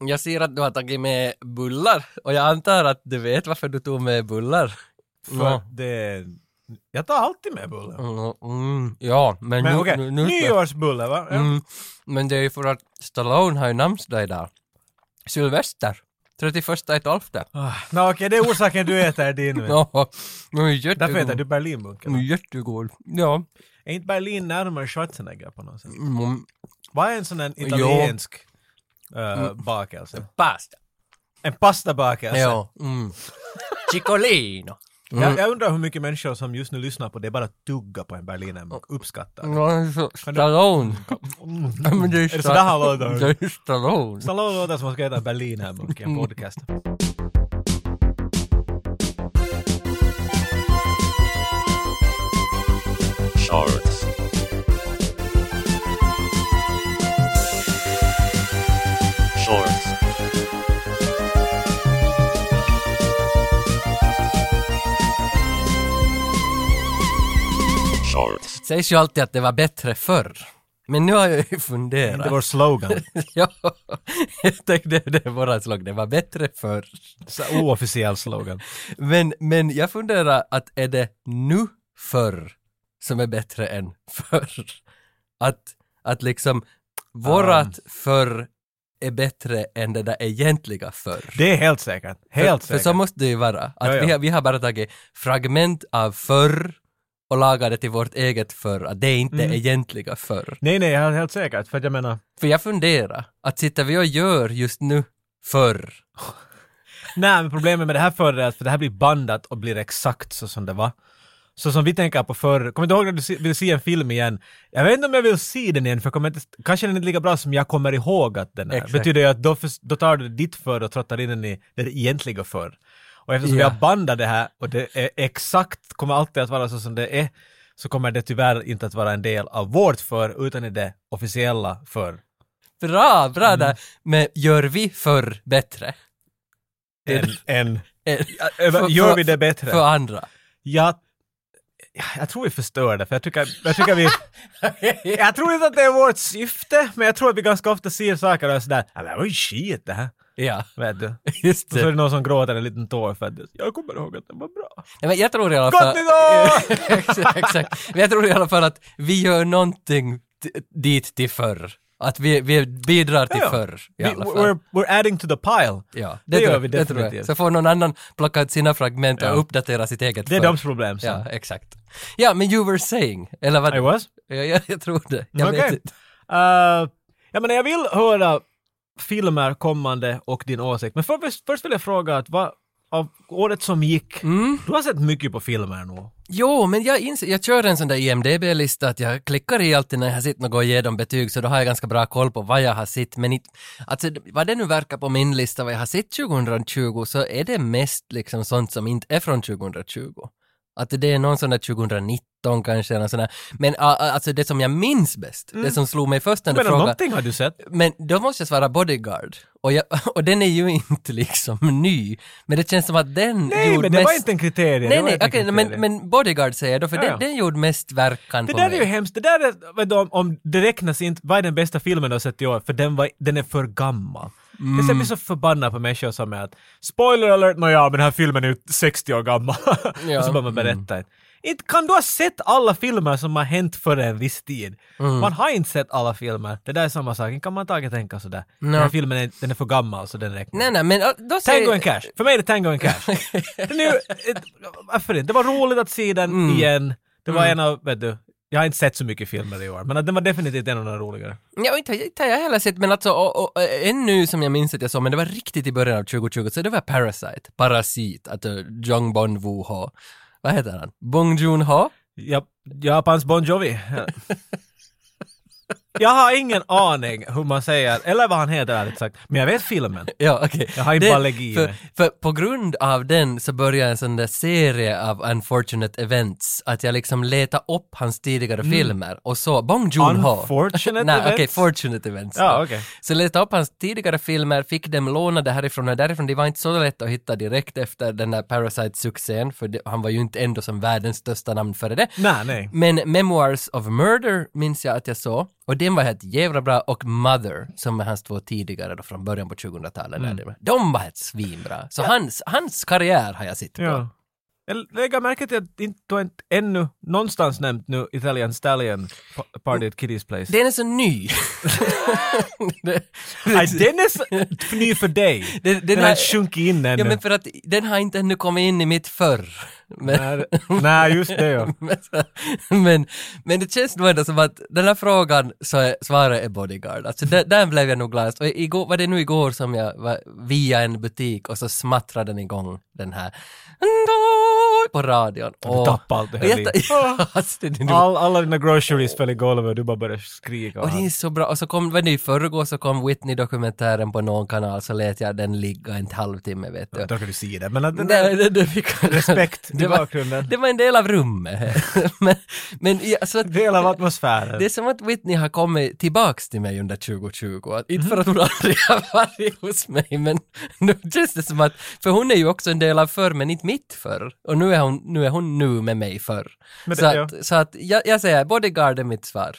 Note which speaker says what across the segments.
Speaker 1: Jag ser att du har tagit med bullar och jag antar att du vet varför du tog med bullar.
Speaker 2: För
Speaker 1: Ja.
Speaker 2: det... Jag tar alltid med bullar.
Speaker 1: Mm, mm, ja, men,
Speaker 2: Men
Speaker 1: nu,
Speaker 2: okej,
Speaker 1: nu, nu,
Speaker 2: nyårsbulle va? Ja.
Speaker 1: mm, Men det är ju för att Stallone har ju namnsdag idag. Sylvester. 31 i 12.
Speaker 2: Ah, Nå okej, det är orsaken du äter din. vet du.
Speaker 1: Ja, Mm. men
Speaker 2: Därför äter du
Speaker 1: jättegod.
Speaker 2: Berlinbunkern.
Speaker 1: Men Jättegod. Ja.
Speaker 2: Är inte Berlin närmare Schwarzenegger på något sätt?
Speaker 1: Mm,
Speaker 2: Vad är en sån där
Speaker 1: Jo.
Speaker 2: italiensk eh, bakelse?
Speaker 1: pasta.
Speaker 2: En pastabakelse?
Speaker 1: Ja. Mm. Cicolino.
Speaker 2: Jag, jag undrar hur mycket människor som just nu lyssnar på det bara tugga på en berlinerburk
Speaker 1: Mm.
Speaker 2: uppskattar. det.
Speaker 1: Ja, så- Stallone. Ja, men det är,
Speaker 2: Mm. Är det sådär han
Speaker 1: Sta-
Speaker 2: låter?
Speaker 1: Det är Stallone.
Speaker 2: Stallone låter som att man ska äta en berlinerburk
Speaker 1: Mm.
Speaker 2: i en podcast.
Speaker 3: Shorts. Shorts. Shorts.
Speaker 1: Sägs ju alltid att det var bättre förr. Men nu har jag ju
Speaker 2: Det är
Speaker 1: funderat.
Speaker 2: vår slogan.
Speaker 1: ja, jag tänkte det är våran slag, det var bättre förr.
Speaker 2: Så oofficiell slogan.
Speaker 1: Men, men jag funderar att är det nu förr som är bättre än förr? Att, att liksom vårat
Speaker 2: Ah.
Speaker 1: förr är bättre än det där egentliga förr.
Speaker 2: Det är helt säkert. Helt
Speaker 1: för, för
Speaker 2: säkert.
Speaker 1: så måste det ju vara. Att
Speaker 2: Ja, ja.
Speaker 1: Vi, har, vi har bara tagit fragment av förr och lagat det till vårt eget förr, att det är inte
Speaker 2: Mm.
Speaker 1: det egentliga förr.
Speaker 2: Nej, nej, helt- helt säkert. För att jag menar,
Speaker 1: För jag funderar, att sitter vi och gör just nu förr,
Speaker 2: nej men problemet med det här förr är att för det här blir bandat och blir exakt så som det var. Så som vi tänker på förr, kommer du ihåg när du se- vill se en film igen? Jag vet inte om jag vill se den igen för jag kommer inte, kanske den är inte lika bra som jag kommer ihåg att den är.
Speaker 1: Exakt.
Speaker 2: Betyder ju att då, förs- då tar du ditt förr och trottar in den i det egentliga förr. Och eftersom
Speaker 1: Ja.
Speaker 2: vi har bandat det här och det är exakt kommer alltid att vara så som det är, så kommer det tyvärr inte att vara en del av vårt förr utan i det officiella förr.
Speaker 1: Bra, bra
Speaker 2: Mm.
Speaker 1: där. Men gör vi förr bättre?
Speaker 2: Än, än,
Speaker 1: Eh,
Speaker 2: Ö, gör vi det bättre?
Speaker 1: För andra.
Speaker 2: Jag, jag tror vi förstör det, för jag tycker, jag tycker vi... jag tror inte att det är vårt syfte, men jag tror att vi ganska ofta ser saker och är sådär "Ja, men det var ju skit det här.
Speaker 1: Ja,
Speaker 2: Vet du?
Speaker 1: just
Speaker 2: Och så är
Speaker 1: det.
Speaker 2: det någon som gråter en liten tår för att jag kommer ihåg att det var bra.
Speaker 1: Nej, men jag tror Alltså, i alla fall...
Speaker 2: Gott nytt år!
Speaker 1: exakt, exakt. Men jag tror i alla fall att vi gör någonting t- dit till förr. Att vi, vi bidrar till
Speaker 2: Ja, ja.
Speaker 1: förr i
Speaker 2: Vi-
Speaker 1: alla fall.
Speaker 2: we're, we're adding to the pile.
Speaker 1: ja,
Speaker 2: det
Speaker 1: tror
Speaker 2: gör
Speaker 1: jag-
Speaker 2: vi
Speaker 1: det tror jag.
Speaker 2: definitivt.
Speaker 1: Så får någon annan plocka ut sina fragment
Speaker 2: Ja.
Speaker 1: och uppdatera sitt eget
Speaker 2: Det är
Speaker 1: förr.
Speaker 2: deras problem. Så.
Speaker 1: Ja, exakt. Ja, men you were saying, eller vad?
Speaker 2: I was?
Speaker 1: Ja, jag, jag tror det. Jag
Speaker 2: Okej.
Speaker 1: vet inte.
Speaker 2: Uh, ja, men jag vill höra filmer kommande och din åsikt. Men först, först vill jag fråga att vad, av året som gick, du har sett mycket på filmer nu.
Speaker 1: Jo, men jag, inser, jag kör en sån där IMDB-lista att jag klickar i alltid när jag har sett något och ger dem betyg så då har jag ganska bra koll på vad jag har sett. Men it, alltså, vad det nu verkar på min lista vad jag har sett 2020 så är det mest liksom sånt som inte är från 2020. Att det är någon sån där 2019 kanske, eller sån där. men a- a- alltså det som jag minns bäst, det som slog mig först när du
Speaker 2: Mm. Men
Speaker 1: frågade,
Speaker 2: någonting har du sett.
Speaker 1: men då måste jag svara Bodyguard. Och, jag, och den är ju inte liksom ny, men det känns som att den
Speaker 2: Nej,
Speaker 1: gjorde
Speaker 2: men det var
Speaker 1: mest-
Speaker 2: inte en kriterie. det
Speaker 1: Nej,
Speaker 2: var
Speaker 1: nej,
Speaker 2: inte en
Speaker 1: okej,
Speaker 2: kriterie.
Speaker 1: men, men Bodyguard säger jag då, för
Speaker 2: Ja, ja.
Speaker 1: Den, den gjorde mest verkan
Speaker 2: det
Speaker 1: på
Speaker 2: där
Speaker 1: mig.
Speaker 2: är ju hemskt. Det där är, vet du, om, om det räknas inte, vad är den bästa filmen du har sett i år? För den, var, den är för gammal. Mm. Jag blir så förbannad på människor som är att spoiler alert, nåja, men den här filmen är ju 60 år gammal.
Speaker 1: Ja. Mm.
Speaker 2: Och så börjar man berätta. Inte kan du ha sett alla filmer som har hänt före en viss tid?
Speaker 1: Mm.
Speaker 2: Man har inte sett alla filmer. Det där är samma sak. Inte kan man taget tänka sådär. Den här filmen är, den är för gammal så den räknas.
Speaker 1: Nej, nej, men äh, då säger...
Speaker 2: Tango and Cash. För mig är det Tango and Cash. Den är ju, ett, varför inte? Det var roligt att se den
Speaker 1: Mm.
Speaker 2: igen. Det var en av, vet du, jag har inte sett så mycket filmer i år, men att den var definitivt en av de roligare.
Speaker 1: Ja, inte, inte har jag heller sett, men alltså, och, och, äh, en nu som jag minns att jag såg, men det var riktigt i början av 2020, så det var Parasite, Parasit, att äh, Jong Bon Woo Ho. Vad heter han? Bong Joon Ho?
Speaker 2: Ja, Japans Bon Jovi. Ja. Jag har ingen aning hur man säger, eller vad han heter ärligt sagt, men jag vet filmen.
Speaker 1: Ja, okej.
Speaker 2: Jag har inte
Speaker 1: Det-
Speaker 2: allergi eh. i
Speaker 1: För,
Speaker 2: mig.
Speaker 1: för på grund av den så började en sån där serie av unfortunate events, att jag liksom letade upp hans tidigare filmer och så Bong Joon-Ho.
Speaker 2: Mm. Unfortunate
Speaker 1: Nej, okej,
Speaker 2: events?
Speaker 1: fortunate events.
Speaker 2: Ja, okej.
Speaker 1: Så letade upp hans tidigare filmer, fick dem lånade härifrån och därifrån. Det var inte så lätt att hitta direkt efter den där Parasite-succén, för det, han var ju inte ändå som världens största namn före det.
Speaker 2: Nej, nej.
Speaker 1: Men Memoirs of Murder minns jag att jag såg och den var helt jävla bra och Mother, som är hans två tidigare då från början på 2000-talet, mm. de var helt svinbra. Så hans, hans karriär har jag sett på.
Speaker 2: Ja. Jag lägger märke till att inte- du inte ännu någonstans nämnt nu Italian Stallion pa- Party at Kitty's Place.
Speaker 1: Den är så ny. Det-
Speaker 2: Nej, den är så ny för dig.
Speaker 1: Den-
Speaker 2: Den,
Speaker 1: den
Speaker 2: har
Speaker 1: här-
Speaker 2: inte sjunkit in ännu.
Speaker 1: ja, men för att den har inte ännu kommit in i mitt förr. Men,
Speaker 2: Nej, Nej, just det ja.
Speaker 1: men, så- men, men det känns nog ändå som att den här frågan så är, svaret är bodyguard. Alltså där, där blev jag nog gladast. Och igår, var det nu igår som jag var via en butik och så smattrade den igång den här på radion.
Speaker 2: Du
Speaker 1: Och-
Speaker 2: tappade allt det
Speaker 1: och
Speaker 2: här.
Speaker 1: jag,
Speaker 2: livet.
Speaker 1: alltså, det, det,
Speaker 2: All, alla dina groceries föll i golvet och du bara började skrika.
Speaker 1: Och det är så bra. Och så kom, vad det i förrgår så kom Whitney-dokumentären på någon kanal så lät jag den ligga en halvtimme vet du.
Speaker 2: Då kan du se det. Men att den
Speaker 1: Nej,
Speaker 2: där,
Speaker 1: det, det, fick,
Speaker 2: respekt i
Speaker 1: det, var,
Speaker 2: bakgrunden.
Speaker 1: det var en del av rummet. men men ja, så att,
Speaker 2: Del av atmosfären.
Speaker 1: det är som att Whitney har kommit tillbaks till mig under 2020. Att, inte för att
Speaker 2: Mhm.
Speaker 1: hon aldrig har varit hos mig, men nu känns det som att, för hon är ju också en del av förr, men inte mitt förr. Och nu är hon nu, är hon nu med mig förr.
Speaker 2: Men det-
Speaker 1: så, att, så att jag, jag säger, bodyguard är mitt svar.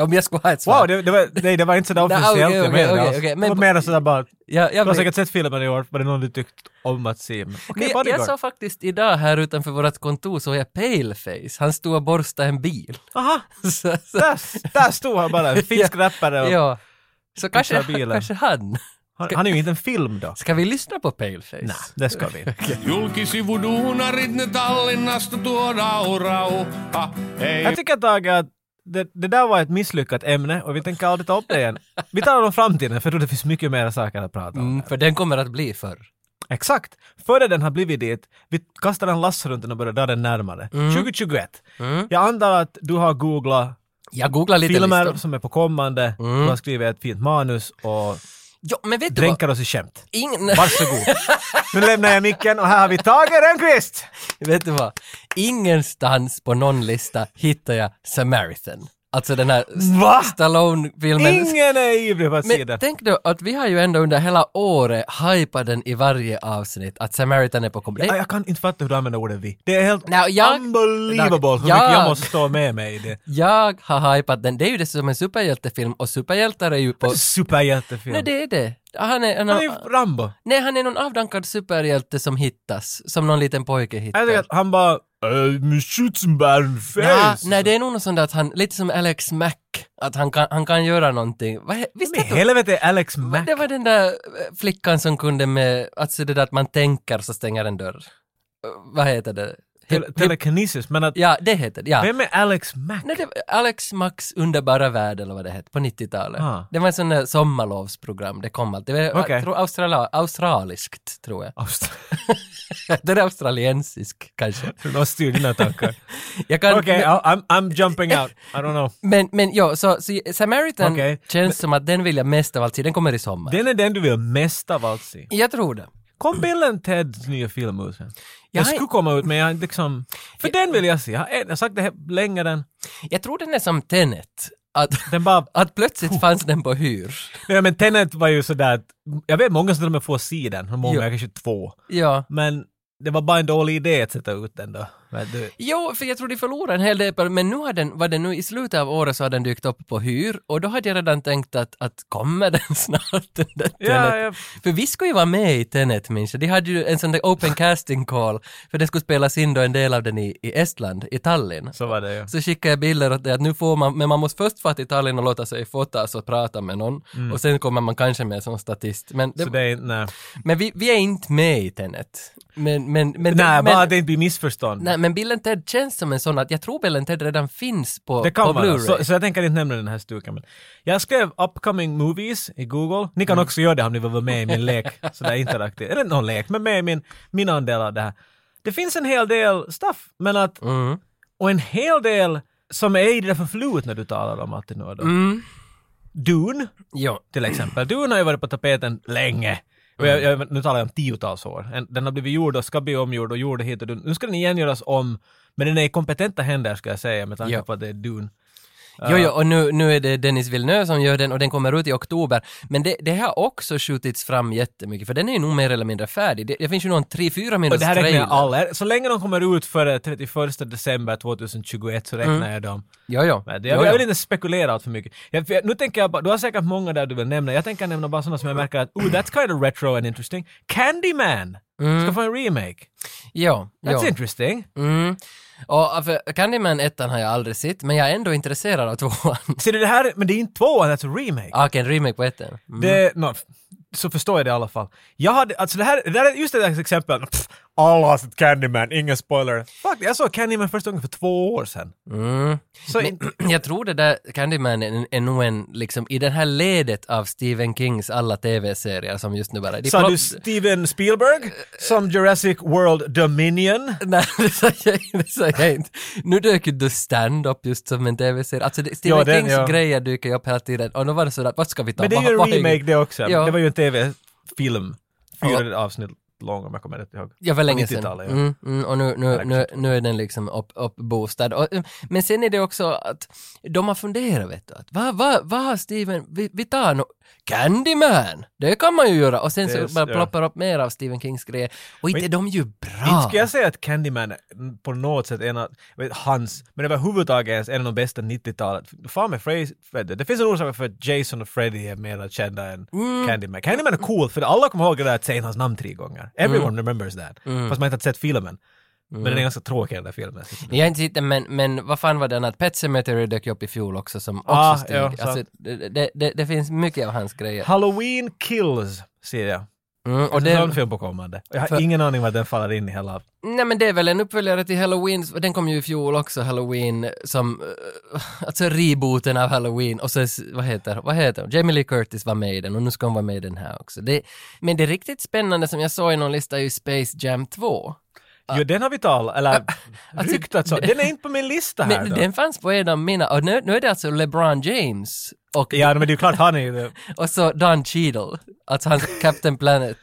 Speaker 1: Om jag skulle ha ett svar.
Speaker 2: Wow, det, det var, nej, det var inte sådär
Speaker 1: Nej,
Speaker 2: officiellt
Speaker 1: okej,
Speaker 2: jag
Speaker 1: okej,
Speaker 2: menade.
Speaker 1: okej,
Speaker 2: alls.
Speaker 1: okej,
Speaker 2: det
Speaker 1: men
Speaker 2: var
Speaker 1: på-
Speaker 2: mer sådär bara,
Speaker 1: jag, jag
Speaker 2: du har
Speaker 1: vet-
Speaker 2: säkert sett filmen i år, var det någon du tyckt om att se? Men Okej,
Speaker 1: Men jag, jag
Speaker 2: bodyguard.
Speaker 1: sa faktiskt idag här utanför vårt kontor såg jag Paleface, han stod och borstade en bil.
Speaker 2: Aha,
Speaker 1: så, så,
Speaker 2: där, där stod han bara, en finsk rappare. Och,
Speaker 1: ja. så kanske,
Speaker 2: Borstade bilen.
Speaker 1: kanske han.
Speaker 2: han, han är ju inte en film då.
Speaker 1: Ska vi lyssna på Paleface? Nej.
Speaker 2: Det ska vi.
Speaker 4: Julkisivuduunarit ne Tallinnasta tuodaan rauha. Ei
Speaker 2: Jag tycker Tage att det, det där var ett misslyckat ämne och vi tänker aldrig ta upp det igen. Vi talar om framtiden för jag tror det finns mycket mer saker att prata om.
Speaker 1: Mm, för den kommer att bli förr.
Speaker 2: Exakt! Före den har blivit dit, vi kastar en lass runt den och börjar dra den närmare.
Speaker 1: Mm.
Speaker 2: 2021. Jag antar att du har googlat
Speaker 1: Jag googlar lite
Speaker 2: filmer
Speaker 1: listor.
Speaker 2: som är på kommande,
Speaker 1: Mm.
Speaker 2: du har skrivit ett fint manus och
Speaker 1: Ja, men vet du vad?
Speaker 2: dränker oss i skämt.
Speaker 1: Ingen...
Speaker 2: Varsågod. nu lämnar jag micken och här har vi Tage Rönnqvist!
Speaker 1: Vet du vad? Ingenstans på någon lista hittar jag Samaritan. Alltså den här St-
Speaker 2: Va?
Speaker 1: Stallone-filmen.
Speaker 2: Mm. Ingen är ivrig på att se
Speaker 1: Men
Speaker 2: den.
Speaker 1: tänk då att vi har ju ändå under hela året hypat den i varje avsnitt, att Samaritan är på kom. Det-
Speaker 2: Ja, jag kan inte fatta hur du använder ordet vi. Det är helt
Speaker 1: Now, jag-
Speaker 2: unbelievable hur mycket
Speaker 1: Jag-
Speaker 2: jag måste stå med mig i det.
Speaker 1: Jag har hypat den. Det är ju det som en superhjältefilm och superhjältar är ju på...
Speaker 2: Superhjältefilm.
Speaker 1: Nej, det är det. Han är, han
Speaker 2: Alltså, Han är ju Rambo.
Speaker 1: nej, han är någon avdankad superhjälte som hittas, som någon liten pojke
Speaker 2: Jag tycker
Speaker 1: hittar.
Speaker 2: att han bara... "Eh, Min schützenbärn
Speaker 1: Ja,
Speaker 2: face. Alltså.
Speaker 1: nej, det är nog något sånt där att han, lite som Alex Mack, att han kan, han kan göra någonting. Vad he- Visst
Speaker 2: Men i
Speaker 1: att du?
Speaker 2: helvete Alex Mack.
Speaker 1: Det var den där eh, flickan som kunde med, alltså det där att man tänker så stänger en dörr. Eh, Vad heter det? Hip-
Speaker 2: Tele- telekinesis. Men att,
Speaker 1: ja, det heter det, ja.
Speaker 2: vem är Alex Mack?
Speaker 1: Nej, det var Alex Max underbara värld eller vad det hette på 90-talet.
Speaker 2: Ah.
Speaker 1: Det var en sån där sommarlovsprogram, det kom alltid. Det var,
Speaker 2: Okej.
Speaker 1: jag tror, australa, australiskt, tror jag.
Speaker 2: Aust-
Speaker 1: det är australiensisk kanske.
Speaker 2: De styr dina tankar.
Speaker 1: Jag kan,
Speaker 2: Okej, I- I'm, I'm jumping out. I don't know.
Speaker 1: Men, men ja, så, så Samaritan
Speaker 2: Okej.
Speaker 1: känns som att den vill jag mest av allt se. Den kommer i sommar.
Speaker 2: Den är den du vill mest av allt se.
Speaker 1: Jag tror det.
Speaker 2: Kom bilden Teds nya film ut sen?
Speaker 1: Jag
Speaker 2: Den
Speaker 1: har-
Speaker 2: skulle komma ut men jag liksom... För den vill jag se. Jag har jag har sagt det här länge den.
Speaker 1: Jag tror den är som Tenet. Att,
Speaker 2: Den bara...
Speaker 1: att
Speaker 2: Oh.
Speaker 1: plötsligt fanns den på hyr.
Speaker 2: Nej men Tenet var ju sådär att... Jag vet många som till och med får se den. Hur
Speaker 1: Jo.
Speaker 2: många? Kanske två.
Speaker 1: Ja.
Speaker 2: Men det var bara en dålig idé att sätta ut den då. Men du,
Speaker 1: Jo, för jag tror de förlorade en hel del, på- men nu har den, var det nu i slutet av året så har den dykt upp på hyr och då hade jag redan tänkt att, att kommer den snart? Den där Tenet?
Speaker 2: ja.
Speaker 1: För vi skulle ju vara med i Tenet, minns jag. De hade ju en sån där open casting call, för den skulle spelas in då en del av den i, i Estland, i Tallinn.
Speaker 2: så var det ju.
Speaker 1: Så skickade jag bilder åt dig att nu får man, men man måste först vara till Tallinn och låta sig fotas och prata med någon och sen kommer man kanske med som statist. Men, det,
Speaker 2: Mm. Så det är inte... Nej,
Speaker 1: men vi, vi är inte med i Tenet. Men, men, men,
Speaker 2: nej
Speaker 1: men,
Speaker 2: bara att det inte blir missförstånd.
Speaker 1: Nej, men Bill Ted känns som en sån att jag tror Bill Ted redan finns på,
Speaker 2: Det kan
Speaker 1: på
Speaker 2: vara.
Speaker 1: Blu-ray.
Speaker 2: Så, så jag tänker inte nämna den här stuken. Men jag skrev upcoming movies i Google. Ni kan
Speaker 1: Mm.
Speaker 2: också göra det om ni vill vara med i min lek. Sådär interaktiv. Eller inte någon lek, men med i min, min andel av det här. Det finns en hel del stuff, men att...
Speaker 1: Mm.
Speaker 2: Och en hel del som är i det förflutna du talar om alltid nu och då.
Speaker 1: Mm.
Speaker 2: Dune,
Speaker 1: Jo.
Speaker 2: till exempel. Dune har ju varit på tapeten länge. Och jag,
Speaker 1: Mm.
Speaker 2: jag, nu talar jag om tiotals år. En- Den har blivit gjord och ska bli omgjord och gjord hit och Dune. Nu ska den igen göras om. Men den är i kompetenta händer ska jag säga med tanke
Speaker 1: Ja.
Speaker 2: på att det är Dune.
Speaker 1: Jo, jo, och nu, nu är det Dennis Villeneuve som gör den och den kommer ut i oktober. Men det, det har också skjutits fram jättemycket, för den är ju nog mer eller mindre färdig. Det, det finns ju någon 3-4
Speaker 2: Och
Speaker 1: minuters
Speaker 2: det här räknar
Speaker 1: trailer.
Speaker 2: jag alla. Så länge de kommer ut före 31 december 2021 så räknar jag dem.
Speaker 1: Jo, jo.
Speaker 2: Men
Speaker 1: Mm.
Speaker 2: det,
Speaker 1: Jo,
Speaker 2: jag, jag
Speaker 1: jo.
Speaker 2: vill inte spekulera allt för mycket. Jag, för jag, nu tänker jag bara, du har säkert många där du vill nämna. Jag tänker nämna bara sådana som
Speaker 1: Mm.
Speaker 2: jag märker att oh, that's kind of retro and interesting. Candyman! Ska få en remake.
Speaker 1: Jo,
Speaker 2: That's
Speaker 1: jo.
Speaker 2: interesting.
Speaker 1: Mm. Och för Candyman 1 har jag aldrig sett, men jag är ändå intresserad av tvåan.
Speaker 2: Ser du det här, men det är inte tvåan, that's a remake.
Speaker 1: Ah, Okej, en remake på ettan. Mm.
Speaker 2: Det, nå, f- så förstår jag det i alla fall. Jag hade, alltså det här, det här är just det där exempel. Pff, alla har sett Candyman, ingen spoiler. Fuck, jag såg Candyman första gången för två år sedan.
Speaker 1: Mm.
Speaker 2: Så
Speaker 1: Men jag tror det där Candyman är, är nog en, liksom, i det här ledet av Stephen Kings alla tv-serier som just nu bara... de
Speaker 2: Sa
Speaker 1: plopp-
Speaker 2: du Steven Spielberg? Som Jurassic World Dominion?
Speaker 1: Nej, det sa jag, det sa jag inte. Nu dök ju The Stand-Up just som en tv-serie. Alltså det, Stephen
Speaker 2: Ja, den,
Speaker 1: Kings
Speaker 2: ja.
Speaker 1: grejer dyker ju upp hela tiden. Och nu var det sådär, vad ska vi ta?
Speaker 2: Men det är
Speaker 1: Vad-
Speaker 2: ju en
Speaker 1: vad är-
Speaker 2: remake det också.
Speaker 1: Ja.
Speaker 2: Det var ju en tv-film.
Speaker 1: Ja.
Speaker 2: Fyra avsnitt lång om jag kommer rätt ihåg.
Speaker 1: Ja, för länge
Speaker 2: 90-talet,
Speaker 1: sedan.
Speaker 2: ja.
Speaker 1: Mm, mm, och nu, nu,
Speaker 2: Verkligen.
Speaker 1: nu, nu är den liksom upp, uppboostad. Och, mm, men sen är det också att de har funderat, vet du, att vad, vad, vad har Steven, vi, vi tar no, Candyman, det kan man ju göra. Och sen
Speaker 2: Det är-
Speaker 1: så bara
Speaker 2: ja.
Speaker 1: ploppar upp mer av Stephen Kings grejer. Och inte
Speaker 2: Men-
Speaker 1: de är ju
Speaker 2: Inte
Speaker 1: bra.
Speaker 2: ska jag säga att Candyman är på något sätt en av, jag vet, hans, men överhuvudtaget är en av de bästa 90-talet. Fan med Fre- Freddy, det finns en orsak för att Jason och Freddy är mer kända än
Speaker 1: Mm.
Speaker 2: Candyman. Candyman är cool för alla kommer ihåg det där att säga hans namn tre gånger.
Speaker 1: Mm.
Speaker 2: Everyone remembers that. Fast man inte har sett filmen. Men den är ganska tråkig den där filmen.
Speaker 1: Jag har inte sett den, men, men vad fan var den att Pet Sematary dök ju upp i fjol också som också
Speaker 2: Ah,
Speaker 1: Steve.
Speaker 2: ja,
Speaker 1: alltså,
Speaker 2: sant.
Speaker 1: det, det, det, det finns mycket av hans grejer.
Speaker 2: Halloween Kills ser jag.
Speaker 1: Mm,
Speaker 2: Och
Speaker 1: och
Speaker 2: det är
Speaker 1: det,
Speaker 2: en film på kommande. Alltså, Jag har
Speaker 1: För-
Speaker 2: ingen aning vad den faller in i hela
Speaker 1: Nej men det är väl en uppföljare till Halloween, den kom ju i fjol också, Halloween, som, eh, alltså rebooten av Halloween och så, s- vad heter, vad heter hon? Jamie Lee Curtis var med i den och nu ska hon vara med i den här också. Det, men det riktigt spännande som jag såg i någon lista är ju Space Jam 2.
Speaker 2: Jo, den har vi talat, eller
Speaker 1: alltså,
Speaker 2: ryktats om. Den är inte på min lista här
Speaker 1: Men
Speaker 2: då.
Speaker 1: den fanns på en av mina, och nu, nu är det alltså LeBron James och,
Speaker 2: Ja, men det är ju klart han är ju det.
Speaker 1: och så Don Cheadle, alltså hans Captain Planet.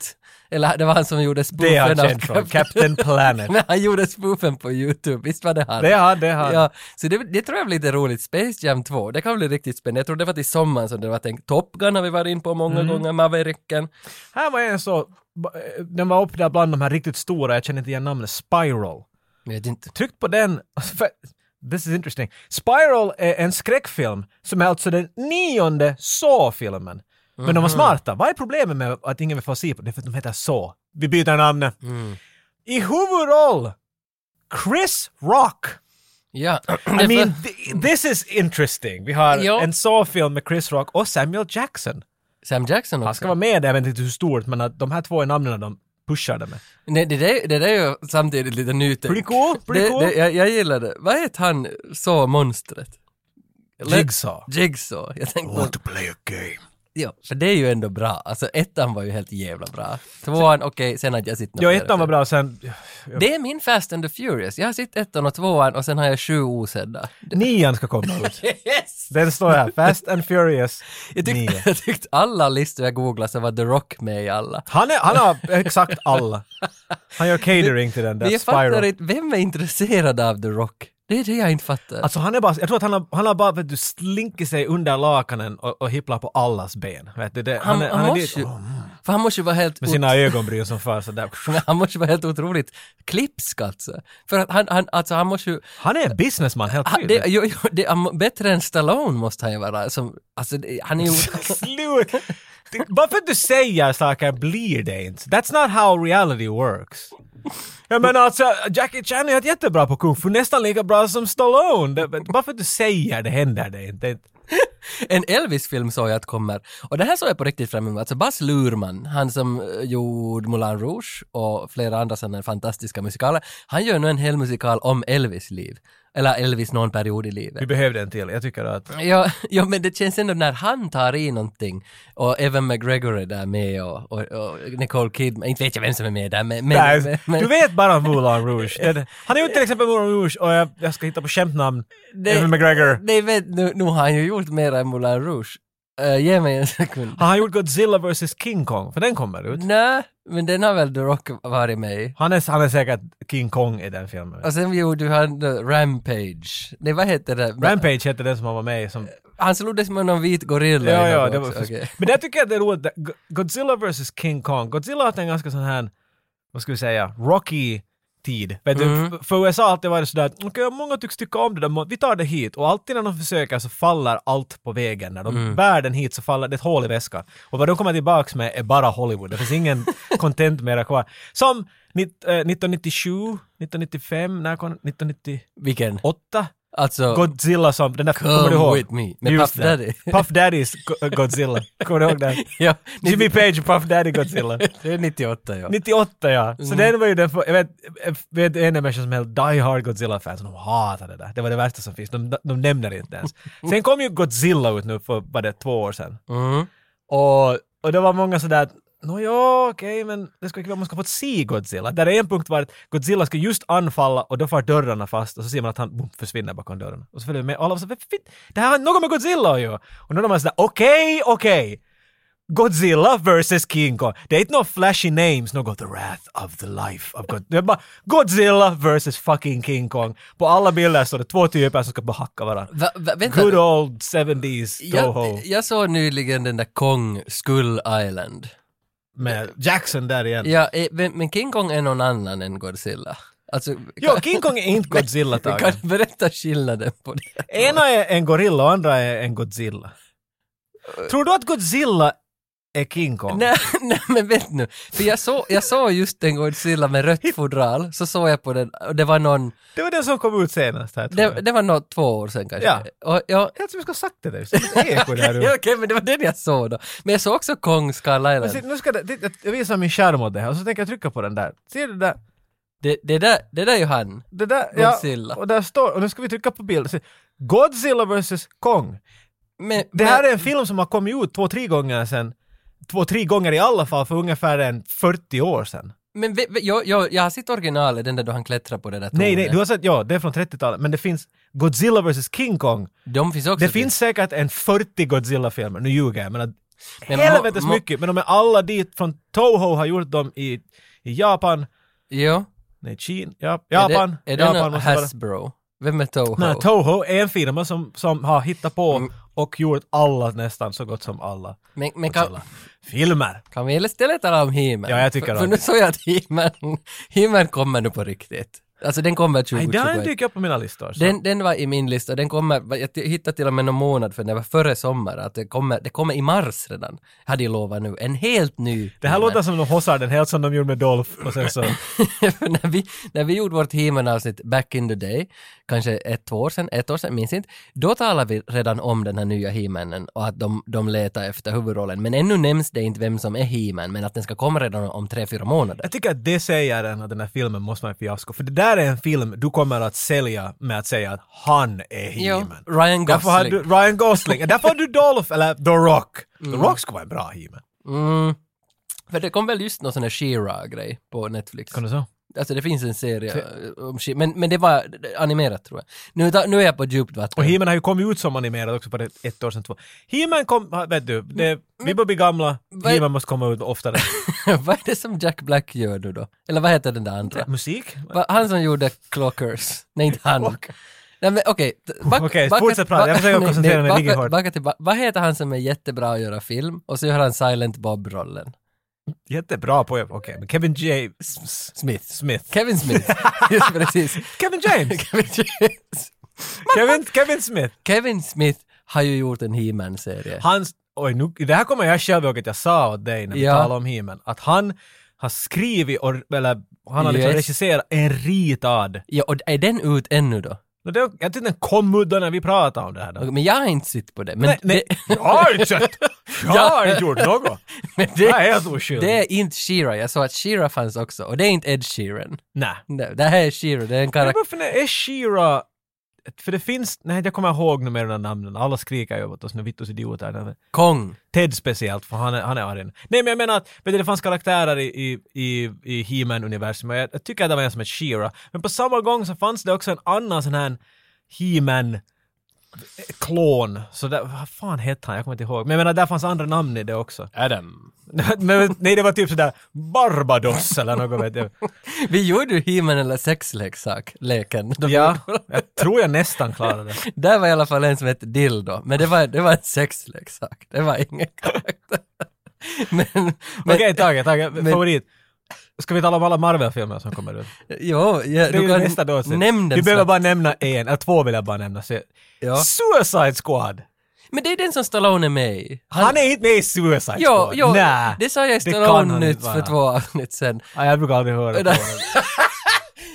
Speaker 1: Eller det var han som gjorde
Speaker 2: Det är han
Speaker 1: spoofen av
Speaker 2: känd från. Captain Planet.
Speaker 1: Men han gjorde spoofen på YouTube, visst var det han?
Speaker 2: Det är han, det är han.
Speaker 1: Ja, så det, det tror jag blir lite roligt. Space Jam 2, det kan bli riktigt spännande. Jag tror det var till sommaren som det var tänkt. Top Gun har vi varit in på många
Speaker 2: Mm.
Speaker 1: gånger, Mavericken.
Speaker 2: Här var en så, eh, den var uppe där bland de här riktigt stora, jag känner inte igen namnet, Spiral.
Speaker 1: Jag vet inte.
Speaker 2: Tryckt på den, för, this is interesting. Spiral är en skräckfilm som är alltså den nionde Saw-filmen. Men de var smarta. Vad är problemet med att ingen vill få se på det? är för att de heter Saw. Vi byter namn. I huvudroll, Chris Rock.
Speaker 1: Ja.
Speaker 2: I
Speaker 1: Det
Speaker 2: mean,
Speaker 1: för-
Speaker 2: th- this is interesting. Vi har
Speaker 1: Ja.
Speaker 2: en Saw-film med Chris Rock och Samuel Jackson.
Speaker 1: Sam Jackson också.
Speaker 2: Han ska vara med där, jag vet inte hur stort, men att de här två är namnen de pushade med.
Speaker 1: Nej, det, där, det där är ju samtidigt lite nytänk.
Speaker 2: Pretty cool, pretty
Speaker 1: det,
Speaker 2: cool.
Speaker 1: Det, jag, jag gillar det. Vad heter han, så monstret? Eller-
Speaker 2: Jigsaw.
Speaker 1: Jigsaw. Jag tänkte,
Speaker 2: to play a game?
Speaker 1: ja, för det är ju ändå bra. Alltså ettan var ju helt jävla bra. Tvåan, okej, sen hade jag sett något
Speaker 2: Ja,
Speaker 1: mer
Speaker 2: ettan var
Speaker 1: sen.
Speaker 2: bra sen.
Speaker 1: Det är min Fast and the Furious. Jag har sett ettan och tvåan och sen har jag sju osedda.
Speaker 2: Nian ska komma ut.
Speaker 1: Yes!
Speaker 2: Den står här, Fast and Furious
Speaker 1: Jag tyckte,
Speaker 2: 9.
Speaker 1: jag tyckte alla listor jag googlade så var The Rock med i alla.
Speaker 2: Han, är, han har exakt alla. Han gör catering till den
Speaker 1: Men
Speaker 2: där
Speaker 1: jag fattar
Speaker 2: Spiral.
Speaker 1: inte, vem är intresserad av The Rock? Det är det jag inte fattar.
Speaker 2: Alltså han är bara, jag tror att han har, han har bara vet du, slinkit sig under lakanen och, och hipplar på allas ben. Vet du, det,
Speaker 1: han,
Speaker 2: är-
Speaker 1: han,
Speaker 2: är dit-
Speaker 1: måste ju, för han måste ju vara helt...
Speaker 2: Med
Speaker 1: ot-
Speaker 2: sina ögonbryn som far sådär.
Speaker 1: han måste ju vara helt otroligt klipsk alltså. För att han, han, alltså han måste ju...
Speaker 2: Han är en businessman helt
Speaker 1: Han, det,
Speaker 2: tydligt.
Speaker 1: jo, jo, det, han, bättre än Stallone måste han ju vara. Som, alltså, det, han är ju...
Speaker 2: Slut! Det- Bara för att du säger saker blir det inte. That's not how reality works. Jag menar alltså, Jackie Chan är jättebra på kung fu, nästan lika bra som Stallone. Det- men Bara för att du säger det händer det inte.
Speaker 1: En Elvis-film såg jag att kommer. Och det här såg jag på riktigt fram emot. Alltså Baz Luhrmann, han som eh, gjorde Moulin Rouge och flera andra sådana fantastiska musikaler, han gör nu en hel musikal om Elvis liv. Eller Elvis någon period i
Speaker 2: Vi
Speaker 1: livet.
Speaker 2: behövde en till. Jag tycker att...
Speaker 1: Ja, ja, men det känns ändå när han tar i någonting och Evan McGregor är där med och, och, och Nicole Kidman, inte vet jag vem som är med där men... men,
Speaker 2: Nej,
Speaker 1: men, men
Speaker 2: du vet bara om Moulin Rouge. Det- det- Han är ju till exempel Moulin Rouge och jag, jag ska hitta på skämtnamn.
Speaker 1: det-
Speaker 2: Evan McGregor.
Speaker 1: Nej, vet, nu, nu har han ju gjort mer än Moulin Rouge. Eh, ge mig en sekund.
Speaker 2: Har han gjort Godzilla vs King Kong? För den kommer ut.
Speaker 1: Nej, men den har väl The Rock varit med i?
Speaker 2: Han är, han är säkert King Kong i den filmen.
Speaker 1: Och sen gjorde han eh, Rampage. Nej, vad heter det?
Speaker 2: Rampage hette den som han var med i. Som,
Speaker 1: Han sloddes med någon vit gorilla.
Speaker 2: ja,
Speaker 1: i
Speaker 2: ja,
Speaker 1: något
Speaker 2: det var
Speaker 1: också. Okej.
Speaker 2: Men där tycker jag att det är roligt. att Go- Godzilla vs King Kong. Godzilla har haft en ganska sån här, vad ska vi säga, rocky tid. Vet du, f- för USA har alltid varit sådär att okej, många tycks tycka om det där, men vi tar det hit. Och alltid när de försöker så faller allt på vägen. När de bär den hit så faller det är ett hål i väskan. Och vad de kommer tillbaks med är bara Hollywood. Det finns ingen content mera kvar. Som nitt- eh, 1997, 1995, när kom 1998?
Speaker 1: Vilken? Alltså,
Speaker 2: Godzilla som, den där, kommer du ihåg?
Speaker 1: Oh. with me. Med
Speaker 2: Just
Speaker 1: Puff
Speaker 2: det.
Speaker 1: Daddy.
Speaker 2: Puff Daddys Go- Godzilla. Kommer du ihåg den?
Speaker 1: ja,
Speaker 2: Jimmy Page och Puff Daddy Godzilla.
Speaker 1: det är 98 ja. Mm.
Speaker 2: 98 ja. Så den var ju den för, jag vet, jag vet en människa som är Die Hard Godzilla-fans och de hatar det där. Det var det värsta som finns. De, de nämner det inte ens. Sen kom ju Godzilla ut nu för, vad det, två år sedan.
Speaker 1: Mm.
Speaker 2: Och, och det var många sådär att, Nåja, okej, men det skulle vara man ska få se Godzilla. Där är en punkt var att Godzilla ska just anfalla och då far dörrarna fast och så ser man att han boom, försvinner bakom dörren. Och så följer vi med och alla var så "Vad fint, det här har något med Godzilla att göra. Och nu är man sådär, okej, okej. Godzilla vs King Kong. Det är inte några flashy names, något the wrath of the life of God. Det är bara Godzilla vs fucking King Kong. På alla bilder står det två typer som ska bara hacka varandra.
Speaker 1: Va, va, vänta.
Speaker 2: Good old 70s Toho.
Speaker 1: jag, jag såg nyligen den där Kong Skull Island.
Speaker 2: Med Jackson där igen.
Speaker 1: Ja, eh, men, men King Kong är någon annan än Godzilla. Alltså,
Speaker 2: Jo, King Kong är inte Godzilla
Speaker 1: kan, kan
Speaker 2: tagen.
Speaker 1: du berätta skillnaden på det?
Speaker 2: Ena är en gorilla och andra är en Godzilla. Tror du att Godzilla är King Kong?
Speaker 1: Eh. Nej, nej men vet nu, för jag såg jag såg just den Godzilla med rött fodral, så såg jag på den, och det var någon,
Speaker 2: Det var den som kom ut senast här tror
Speaker 1: det,
Speaker 2: jag.
Speaker 1: det var något två år sedan kanske.
Speaker 2: Ja.
Speaker 1: Och, ja,
Speaker 2: Jag tror vi ska ha sagt det där. Det är lite eko där.
Speaker 1: ja, okej, men det var den jag såg då. Men jag såg också Kong Skull
Speaker 2: Men
Speaker 1: Island.
Speaker 2: se, Nu ska det, det, jag visar min skärm åt det här och så tänker jag trycka på den där. Ser du där?
Speaker 1: Det, det, där, det där är ju han.
Speaker 2: Det där ja,
Speaker 1: Godzilla.
Speaker 2: Och där står, och nu ska vi trycka på bild. Se, Godzilla vs Kong.
Speaker 1: Men,
Speaker 2: Det här är en film som har kommit ut två, tre gånger sen. Två, tre gånger i alla fall för ungefär en 40 år sedan.
Speaker 1: men, men jag, jag, jag har sett originalet, den där då han klättrar på det där
Speaker 2: Nej, nej,
Speaker 1: tornet.
Speaker 2: du har sett, ja, det är från 30-talet, men det finns Godzilla vs King Kong.
Speaker 1: De finns också.
Speaker 2: Det
Speaker 1: till-
Speaker 2: finns säkert en 40 Godzilla-filmer, nu ljuger jag, men, att-
Speaker 1: Men må-
Speaker 2: helvetes
Speaker 1: må-
Speaker 2: mycket, men de är alla dit från Toho har gjort dem i, i Japan,
Speaker 1: Jo.
Speaker 2: nej, Kina, ja,
Speaker 1: Är det-
Speaker 2: Japan,
Speaker 1: Är det
Speaker 2: Japan
Speaker 1: någon
Speaker 2: vara-
Speaker 1: Hasbro? Vem är Toho?
Speaker 2: Nej, Toho är en firma som, som har hittat på
Speaker 1: Mm.
Speaker 2: och gjort alla, nästan så gott som alla
Speaker 1: men, men kan,
Speaker 2: Godzilla-filmer.
Speaker 1: kan vi istället tala om He-Man?
Speaker 2: Ja, jag tycker
Speaker 1: för,
Speaker 2: om
Speaker 1: för nu
Speaker 2: det.
Speaker 1: såg jag att He-Man, He-Man kommer nu på riktigt. Alltså den kommer
Speaker 2: Nej, den
Speaker 1: 2021.
Speaker 2: dyker upp på mina listor. så.
Speaker 1: Den, den var i min lista, den kommer, jag t- hittade till och med någon månad för det var före sommar, att det kommer, det kommer i mars redan, hade jag lovat nu. En helt ny.
Speaker 2: det här
Speaker 1: He-Man.
Speaker 2: låter som de hossar den helt som de gjorde med Dolph och sen så...
Speaker 1: För när, vi, när vi gjorde vårt He-Man-avsnitt back in the day, kanske ett, två år sedan, ett år sedan, minns inte, då talade vi redan om den här nya He-Manen och att de, de letar efter huvudrollen. Men ännu nämns det inte vem som är He-Man, men att den ska komma redan om tre, fyra månader.
Speaker 2: Jag tycker att det säger den att den här filmen måste vara en fiasko. För det där är en film du kommer att sälja med att säga att han är He-Man.
Speaker 1: Ryan
Speaker 2: Därför har du
Speaker 1: Gosling.
Speaker 2: Ryan Gosling. Därför har du Dolph, eller The Rock. The Rock ska vara en bra He-Man.
Speaker 1: Mm. För det kom väl just någon sån här she grej på Netflix.
Speaker 2: Kan du så?
Speaker 1: Alltså det finns en serie eh, om she men, men det var animerat tror jag. Nu, ta- nu är jag på djupt
Speaker 2: Och
Speaker 1: vatten.
Speaker 2: He-Man har ju kommit ut som animerad också på det ett år sedan två. He-Man kom, ha- vet du, det, vi börjar bli gamla.
Speaker 1: Vad-
Speaker 2: He-Man måste komma ut oftare.
Speaker 1: vad är det som Jack Black gör nu då? Eller vad heter den där andra?
Speaker 2: Musik?
Speaker 1: Va, han som gjorde Clockers. Nej, inte han. Nej men okej. t- back-
Speaker 2: Okej,
Speaker 1: backa-
Speaker 2: fortsätt prata. Jag försöker
Speaker 1: nej,
Speaker 2: koncentrera
Speaker 1: nej,
Speaker 2: mig
Speaker 1: backa-
Speaker 2: riktigt hårt.
Speaker 1: backa tillba- Vad heter han som är jättebra att göra film och så gör han Silent Bob-rollen?
Speaker 2: Jättebra på Okej, men Kevin James
Speaker 1: Smith.
Speaker 2: Smith.
Speaker 1: Kevin Smith. Just precis.
Speaker 2: Kevin James!
Speaker 1: Kevin James.
Speaker 2: Kevin, Kevin Smith!
Speaker 1: Kevin Smith har ju gjort en He-Man-serie.
Speaker 2: Hans, oj nu, det här kommer jag själv ihåg att jag sa åt dig när vi
Speaker 1: Ja.
Speaker 2: talade om He-Man, att han har skrivit och, eller han har liksom
Speaker 1: Yes.
Speaker 2: regisserat en ritad.
Speaker 1: Ja, och är den ut ännu då?
Speaker 2: Och Det, jag tyckte den kom ut då när vi pratade om det här. Då.
Speaker 1: Okej, Men jag har inte sett på det. Men
Speaker 2: nej, nej, jag har inte sett- jag har inte gjort något.
Speaker 1: Men det,
Speaker 2: Jag är helt oskyldig.
Speaker 1: det är inte She-Ra. Jag sa att She-Ra fanns också och det är inte Ed Sheeran.
Speaker 2: Nej.
Speaker 1: Nej, det här är She-Ra, det är en
Speaker 2: Men
Speaker 1: karaktär.
Speaker 2: varför är Shira för det finns, nej jag kommer ihåg nu med de där namnen, alla skriker ju åt oss nu, vittus idioter. Nej,
Speaker 1: Kong.
Speaker 2: Ted speciellt, för han är, han är arg. Nej men jag menar att vet du, det fanns karaktärer i, i, i, i He-Man-universum och jag, jag tycker att det var en som hette She-Ra. Men på samma gång så fanns det också en annan sån här He-Man klon. Så där, vad fan hette han? Jag kommer inte ihåg. Men jag menar, där fanns andra namn i det också.
Speaker 1: Adam.
Speaker 2: Men, nej, det var typ sådär Barbados eller något vet jag.
Speaker 1: Vi gjorde ju He-Man eller sexleksak, leken. De-
Speaker 2: Ja, jag tror jag nästan klarade det.
Speaker 1: Där var i alla fall en som hette Dildo, men det var, det var en sexleksak. Det var ingen karaktär. Men, men
Speaker 2: Okej, Tage, Tage, favorit. Ska vi tala om alla Marvel-filmer som kommer ut?
Speaker 1: jo, ja,
Speaker 2: Det är
Speaker 1: du
Speaker 2: ju
Speaker 1: kan
Speaker 2: nästa då. sen.
Speaker 1: nämn den
Speaker 2: Vi behöver
Speaker 1: snabbt.
Speaker 2: bara nämna en, eller två vill jag bara nämna. Så.
Speaker 1: Ja.
Speaker 2: Suicide Squad!
Speaker 1: Men det är den som Stallone är med i.
Speaker 2: Han är inte med i Suicide
Speaker 1: Jo,
Speaker 2: Squad!
Speaker 1: jo,
Speaker 2: Nä.
Speaker 1: det sa jag i
Speaker 2: det kan
Speaker 1: Stallone
Speaker 2: han inte
Speaker 1: nytt för
Speaker 2: vara.
Speaker 1: två avsnitt sedan.
Speaker 2: Ja, jag brukar aldrig höra på
Speaker 1: Nej.
Speaker 2: honom.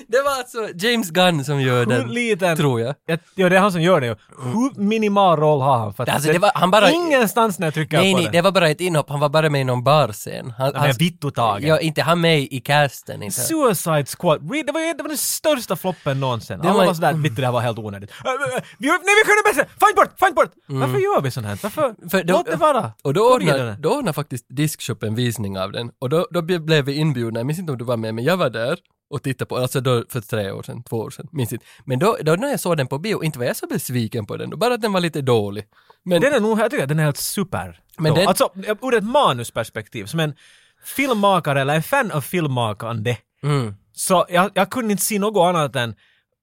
Speaker 1: Det var alltså James Gunn som gör
Speaker 2: Hur
Speaker 1: den,
Speaker 2: liten...
Speaker 1: tror jag.
Speaker 2: Jag- Ja, det är han som gör det ju. Hur minimal roll har han? För att
Speaker 1: Alltså, det var- han bara-
Speaker 2: Ingenstans när jag trycker
Speaker 1: Nej,
Speaker 2: på
Speaker 1: nej,
Speaker 2: det.
Speaker 1: det var bara ett inhopp, han var bara med i någon barscen. Han,
Speaker 2: Men vittu Tage.
Speaker 1: Ja, inte han med i casten. Inte.
Speaker 2: Suicide Squad, Reed, det var, ju- det var den största floppen någonsin. Alla
Speaker 1: var- mm.
Speaker 2: var, sådär, vittu det här var helt onödigt. Äh, äh, äh, Vi, nej vi kunde bättre! Find bort, find bort! Varför gör vi sånt här? Varför?
Speaker 1: Mm. För då-
Speaker 2: Låt det vara!
Speaker 1: Och då ordnade,
Speaker 2: vidare.
Speaker 1: då ordnade faktiskt Diskshop en visning av den. Och då, då ble- blev vi inbjudna, jag minns inte om du var med, men jag var där och tittade på alltså då för tre år sedan, två år sedan, minns inte. Men då, då när jag såg den på bio, inte var jag så besviken på den, bara att den var lite dålig. Men,
Speaker 2: Den är nog, jag tycker att den är helt super.
Speaker 1: Men
Speaker 2: Men
Speaker 1: den-
Speaker 2: Alltså, ur ett manusperspektiv, som en filmmakare eller en fan av filmmakande,
Speaker 1: mm,
Speaker 2: så jag, jag kunde inte se något annat än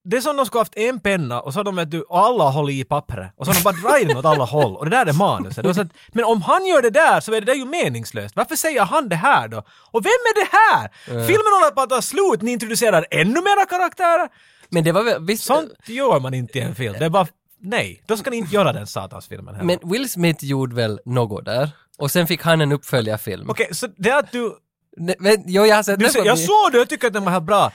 Speaker 2: det är som de skulle haft en penna och så har de vet du, alla håller i pappret och så har de bara dragit den åt alla håll och det där är manuset. Det var så att, men om han gör det där så är det där ju meningslöst. Varför säger han det här då? Och vem är det här?
Speaker 1: Eh.
Speaker 2: Filmen håller på att ta slut, ni introducerar ännu mera karaktärer.
Speaker 1: men det var väl, visst,
Speaker 2: Sånt gör man inte i en film. Det är bara, nej, då ska ni inte göra den satans filmen heller.
Speaker 1: men Will Smith gjorde väl något där? Och sen fick han en uppföljarfilm.
Speaker 2: Okej, så det att du...
Speaker 1: Nej, Men, jo, jag har sett
Speaker 2: du
Speaker 1: den
Speaker 2: ser,
Speaker 1: på
Speaker 2: jag
Speaker 1: bio.
Speaker 2: såg det, jag tycker att den var helt bra.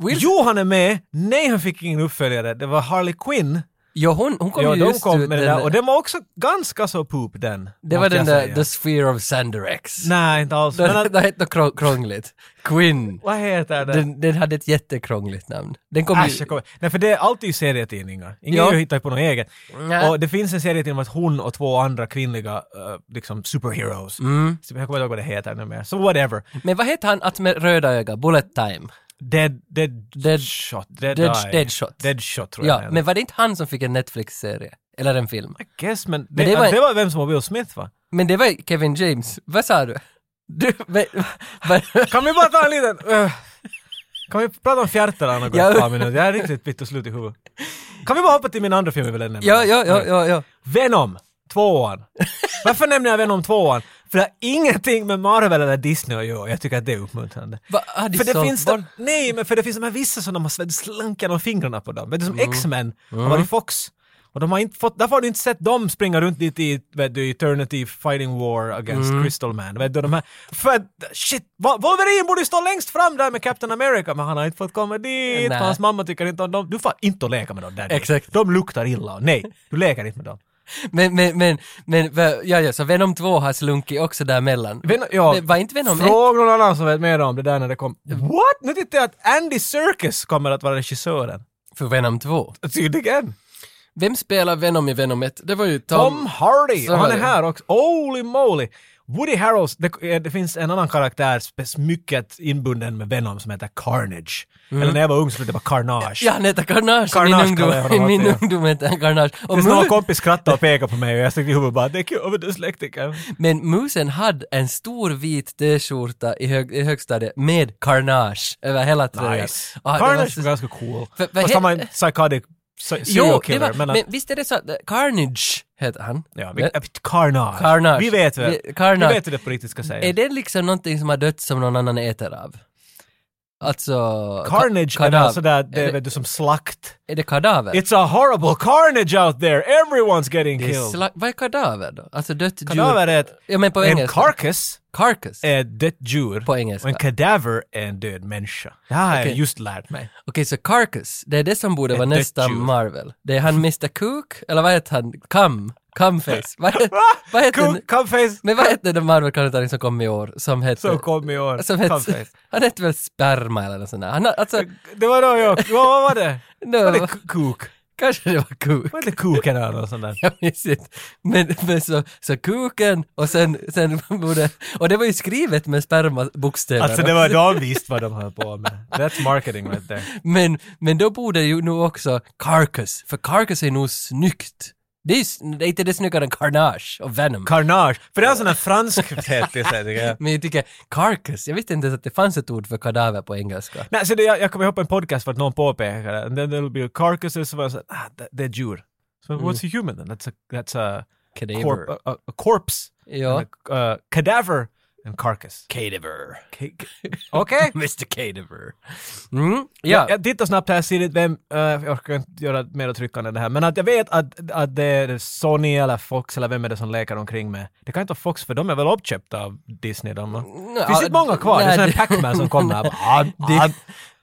Speaker 1: Will-
Speaker 2: Jo, han är med. Nej, han fick ingen uppföljare. Det var Harley Quinn.
Speaker 1: Jo, hon, hon kom
Speaker 2: ja,
Speaker 1: ju
Speaker 2: de
Speaker 1: just
Speaker 2: kom
Speaker 1: ut
Speaker 2: med det
Speaker 1: den-
Speaker 2: där. Och den var också ganska så poop den.
Speaker 1: det var
Speaker 2: måste
Speaker 1: den
Speaker 2: jag
Speaker 1: där
Speaker 2: säga.
Speaker 1: The Sphere of Sanderex.
Speaker 2: Nej, inte alls. Men,
Speaker 1: Den,
Speaker 2: att-
Speaker 1: den hette något krå- krångligt. Quinn.
Speaker 2: vad heter den?
Speaker 1: Den, den hade ett jättekrångligt namn. Den kom
Speaker 2: Äsch,
Speaker 1: ju...
Speaker 2: jag kommer... Nej, för det är alltid i serietidningar. Ingen
Speaker 1: Ja.
Speaker 2: ja. hittar på något eget.
Speaker 1: Nej.
Speaker 2: Och det finns en serietidning om att hon och två andra kvinnliga eh, liksom superheroes. Mm. Jag kommer inte ihåg vad det heter nu mer. Så whatever.
Speaker 1: Men vad heter han att med röda ögon? Bullet Time?
Speaker 2: Dead... Dead...
Speaker 1: Dead-
Speaker 2: shot. Dead,
Speaker 1: Dead-
Speaker 2: Eye.
Speaker 1: Deadshot.
Speaker 2: Deadshot tror jag
Speaker 1: Ja,
Speaker 2: den heter.
Speaker 1: men var det inte han som fick en Netflix-serie? Eller en film?
Speaker 2: guess, men,
Speaker 1: Men
Speaker 2: det,
Speaker 1: det
Speaker 2: det,
Speaker 1: var-
Speaker 2: var... det var vem som var Will Smith va?
Speaker 1: Men det var Kevin James. Vad sa du? Du, men, men,
Speaker 2: Kan vi bara ta en liten... eh, kan vi prata om fjärtarna något
Speaker 1: Ja.
Speaker 2: ett par minuter? Jag är riktigt bitter slut i huvudet. Kan vi bara hoppa till min andra film jag vill nämna?
Speaker 1: ja, ja, ja, ja, ja.
Speaker 2: Venom, tvåan. Varför nämner jag Venom tvåan? För det har ingenting med Marvel eller Disney att göra. Jag tycker att det är uppmuntrande.
Speaker 1: Va, har de
Speaker 2: För det
Speaker 1: sålt
Speaker 2: finns
Speaker 1: bort?
Speaker 2: de, nej, men för det finns de här vissa som de har sl- slankat de fingrarna på dem. Vet du, som
Speaker 1: Mm.
Speaker 2: X-Men har varit Fox. Och de har inte fått, därför har du inte sett dem springa runt dit i vet du, Eternity Fighting War Against
Speaker 1: Mm.
Speaker 2: Crystal Man. Vet du, de här, för att, shit, Wa- Wolverine borde ju stå längst fram där med Captain America, men han har inte fått komma dit,
Speaker 1: Nej.
Speaker 2: för hans mamma tycker inte om dem. Du får inte leka med dem där.
Speaker 1: Exakt.
Speaker 2: De luktar illa. Nej, du leker inte med dem.
Speaker 1: Men, men, men, men, va- ja, ja, så Venom 2 har slunkit också däremellan.
Speaker 2: Ven- ja,
Speaker 1: Men var inte Venom ett?
Speaker 2: Fråga någon annan som vet mer om det där när det kom. What? Nu tittar jag att Andy Serkis kommer att vara regissören.
Speaker 1: För Venom 2?
Speaker 2: Tydligen.
Speaker 1: Vem spelar Venom i Venom 1? Det var ju Tom...
Speaker 2: Tom Hardy!
Speaker 1: Så
Speaker 2: Och han
Speaker 1: var
Speaker 2: är
Speaker 1: det.
Speaker 2: här också. Holy moly! Woody Harrels, det, eh, det finns en annan karaktär spe- mycket inbunden med Venom som heter Carnage. Eller när jag var ung så hette det bara Carnage.
Speaker 1: Mm. Ja, han heter Carnage, i
Speaker 2: Carnage
Speaker 1: min
Speaker 2: kallar jag
Speaker 1: ungdom. I
Speaker 2: honom
Speaker 1: min
Speaker 2: alltid, ja.
Speaker 1: ungdom hette han Carnage. Och
Speaker 2: Tills någon
Speaker 1: Mu-
Speaker 2: kompis skrattade och pekade på mig och jag sträckte i huvudet bara det är kul, men du är släktingar.
Speaker 1: Men musen hade en stor vit t-skjorta i, hög, i högstadiet med carnage över hela tröjan.
Speaker 2: Nice.
Speaker 1: Ah, det var
Speaker 2: Carnage
Speaker 1: så-
Speaker 2: var ganska cool.
Speaker 1: För- för
Speaker 2: Fast
Speaker 1: he-
Speaker 2: han var en psychotic se- serial
Speaker 1: Jo, det
Speaker 2: killer.
Speaker 1: var, men,
Speaker 2: att-
Speaker 1: visst är det så att eh, Carnage heter han?
Speaker 2: Ja,
Speaker 1: Men-
Speaker 2: vi, äh, Carnage.
Speaker 1: Carnage.
Speaker 2: Vi vet väl.
Speaker 1: Vi- Carnage.
Speaker 2: Vi vet hur det på riktigt ska säga.
Speaker 1: Är det liksom någonting som har dött som någon annan äter av? Alltså... ka-
Speaker 2: Carnage
Speaker 1: kadav-
Speaker 2: är väl sådär, det
Speaker 1: är,
Speaker 2: är
Speaker 1: det,
Speaker 2: väl du som slakt.
Speaker 1: är det kadaver?
Speaker 2: It's a horrible carnage out there! Everyone's getting
Speaker 1: Det är
Speaker 2: killed!
Speaker 1: sla- Vad är kadaver då? Alltså dött
Speaker 2: Kadaver
Speaker 1: djur?
Speaker 2: är ett...
Speaker 1: Ja men på
Speaker 2: En
Speaker 1: engelska.
Speaker 2: carcass
Speaker 1: Carcass?
Speaker 2: är ett dött djur.
Speaker 1: På engelska.
Speaker 2: Och en kadaver är en död människa. Det här har jag
Speaker 1: Okej.
Speaker 2: just lärt mig.
Speaker 1: Okej, så Carcass, det är det som borde vara
Speaker 2: dött
Speaker 1: nästa
Speaker 2: djur.
Speaker 1: Marvel. Det är han Mr. Cook, eller vad heter han? Cum? Cumface? Vad heter, vad heter,
Speaker 2: Cool, Cumface!
Speaker 1: Men vad heter den Marvel-karaktären som kom i år som hette...
Speaker 2: Som kom i år.
Speaker 1: som hette
Speaker 2: Cumface.
Speaker 1: han hette väl Sperma eller nåt sånt där. Han, har- alltså,
Speaker 2: Det var då jag... Vad vad var det?
Speaker 1: no,
Speaker 2: Var det k- kuk?
Speaker 1: kanske det var Cook.
Speaker 2: Var det kuken eller något sånt där?
Speaker 1: Jag minns inte. Men, men så, så kuken och sen, sen borde... Och det var ju skrivet med sperma-bokstäver.
Speaker 2: Alltså det var de visste vad de höll på med. That's marketing right there.
Speaker 1: Men, men då borde ju nog också Carcass, för Carcass är nog snyggt. Det är, ju s- det är inte det snyggare än Carnage och Venom.
Speaker 2: Carnage. För det är en sån här fransk tätelse, tycker jag.
Speaker 1: Men jag tycker carcass, jag visste inte ens att det fanns ett ord för kadaver på engelska.
Speaker 2: Nej, så det, jag, jag kommer ihåg på en podcast för att någon påpekade det. And then there'll be carcasses, så var jag så här, ah, det, det är ett djur. So
Speaker 1: Mm.
Speaker 2: what's a human then? That's a, that's a,
Speaker 1: Cadaver.
Speaker 2: corp, a, a, a corpse.
Speaker 1: Ja.
Speaker 2: And a, a cadaver and carcass.
Speaker 1: Cadaver.
Speaker 2: Okej. Okay.
Speaker 1: Mr Cadaver. Mm, ja.
Speaker 2: Ja. Jag tittar snabbt här, ser inte vem, eh, jag orkar inte göra mer att trycka än det här, men att jag vet att, att det är Sony eller Fox eller vem är det som lekar omkring med. Det kan inte vara Fox för de är väl uppköpta av Disney de?
Speaker 1: Mm, Ja,
Speaker 2: Finns det inte många kvar? det är
Speaker 1: nej,
Speaker 2: sån här Pac-Man som kommer här.
Speaker 1: Di-
Speaker 2: Ah, ah.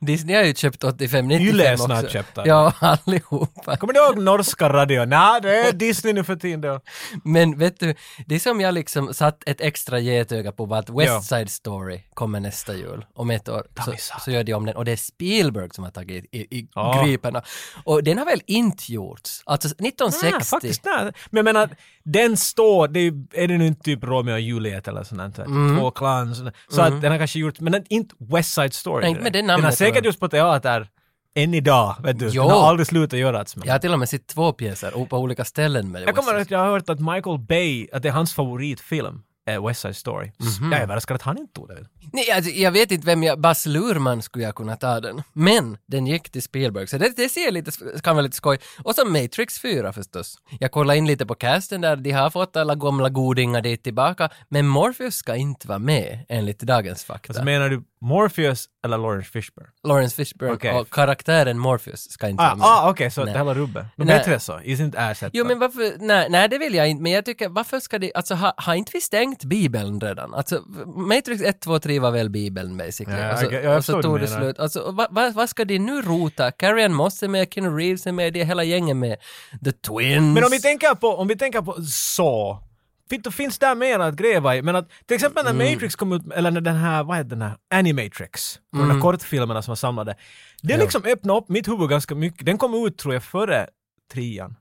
Speaker 1: Disney har ju köpt 85, 95
Speaker 2: Yle är
Speaker 1: också.
Speaker 2: snart köpta.
Speaker 1: Ja, allihopa.
Speaker 2: Kommer du ihåg norska radio? Nej, det är Disney nu för tiden. Då.
Speaker 1: Men vet du, det är som jag liksom satt ett extra getöga på var att
Speaker 2: Ja.
Speaker 1: West Side Story kommer nästa jul. Om ett år så,
Speaker 2: missade.
Speaker 1: så gör de om den och det är Spielberg som har tagit i, i
Speaker 2: Ja.
Speaker 1: griparna. Och den har väl inte gjorts? Alltså 1960.
Speaker 2: Nej, faktiskt nej. Men jag menar, den står, det är, ju- är det nu inte typ Romeo och Juliet eller sånt där,
Speaker 1: Mm.
Speaker 2: två clans. sådana. Så att den har kanske gjort, men den, inte West Side Story.
Speaker 1: Nej, inte med det
Speaker 2: direkt. den
Speaker 1: namnet,
Speaker 2: har
Speaker 1: eller?
Speaker 2: säkert gjorts på teater än idag, vet du.
Speaker 1: Jo.
Speaker 2: Den har aldrig slutat göras. Men.
Speaker 1: Jag har till och med sett två pjäser och på olika ställen med
Speaker 2: Jag
Speaker 1: West
Speaker 2: kommer
Speaker 1: Side
Speaker 2: att jag har hört att Michael Bay, att det är hans favoritfilm, är West Side Story. Så
Speaker 1: Mhm.
Speaker 2: Jag är överraskad att han inte tog det.
Speaker 1: Nej, alltså, jag vet inte vem jag... Bas Luhrmann skulle jag kunna ta den. Men den gick till Spielberg, så det, det ser jag lite, kan vara lite skoj. Och så Matrix 4 förstås. Jag kollade in lite på casten där, de har fått alla gamla godingar dit tillbaka, men Morpheus ska inte vara med enligt dagens fakta.
Speaker 2: Alltså, menar du Morpheus eller Lawrence Fishburne?
Speaker 1: Lawrence Fishburne
Speaker 2: Okej.
Speaker 1: och karaktären Morpheus ska inte
Speaker 2: Ah,
Speaker 1: vara med.
Speaker 2: ah, Okej, så
Speaker 1: Nej.
Speaker 2: det hela rubbet. Men
Speaker 1: Nej.
Speaker 2: bättre så, isn't ersättare.
Speaker 1: Jo men varför, nej, nej det vill jag inte, men jag tycker varför ska det, alltså ha- har inte vi stängt bibeln redan? Alltså Matrix 1, 2, 3 var väl bibeln basically.
Speaker 2: Ja, jag-
Speaker 1: alltså,
Speaker 2: jag förstår
Speaker 1: och så tog
Speaker 2: vad du
Speaker 1: det
Speaker 2: menar.
Speaker 1: slut. Alltså och vad vad- vad ska de nu rota? Carrion Moss är med, Keanu Reeves är med, det är hela gänget med. The Twins.
Speaker 2: Men om vi tänker på, om vi tänker på så. Fin- Då finns där mer att gräva i. Men att till exempel när
Speaker 1: Mm.
Speaker 2: Matrix kom ut, eller när den här, vad heter den här, Animatrix, och
Speaker 1: Mm.
Speaker 2: de här kortfilmerna som var samlade. Det liksom öppnade upp mitt huvud ganska mycket. Den kom ut tror jag före trean.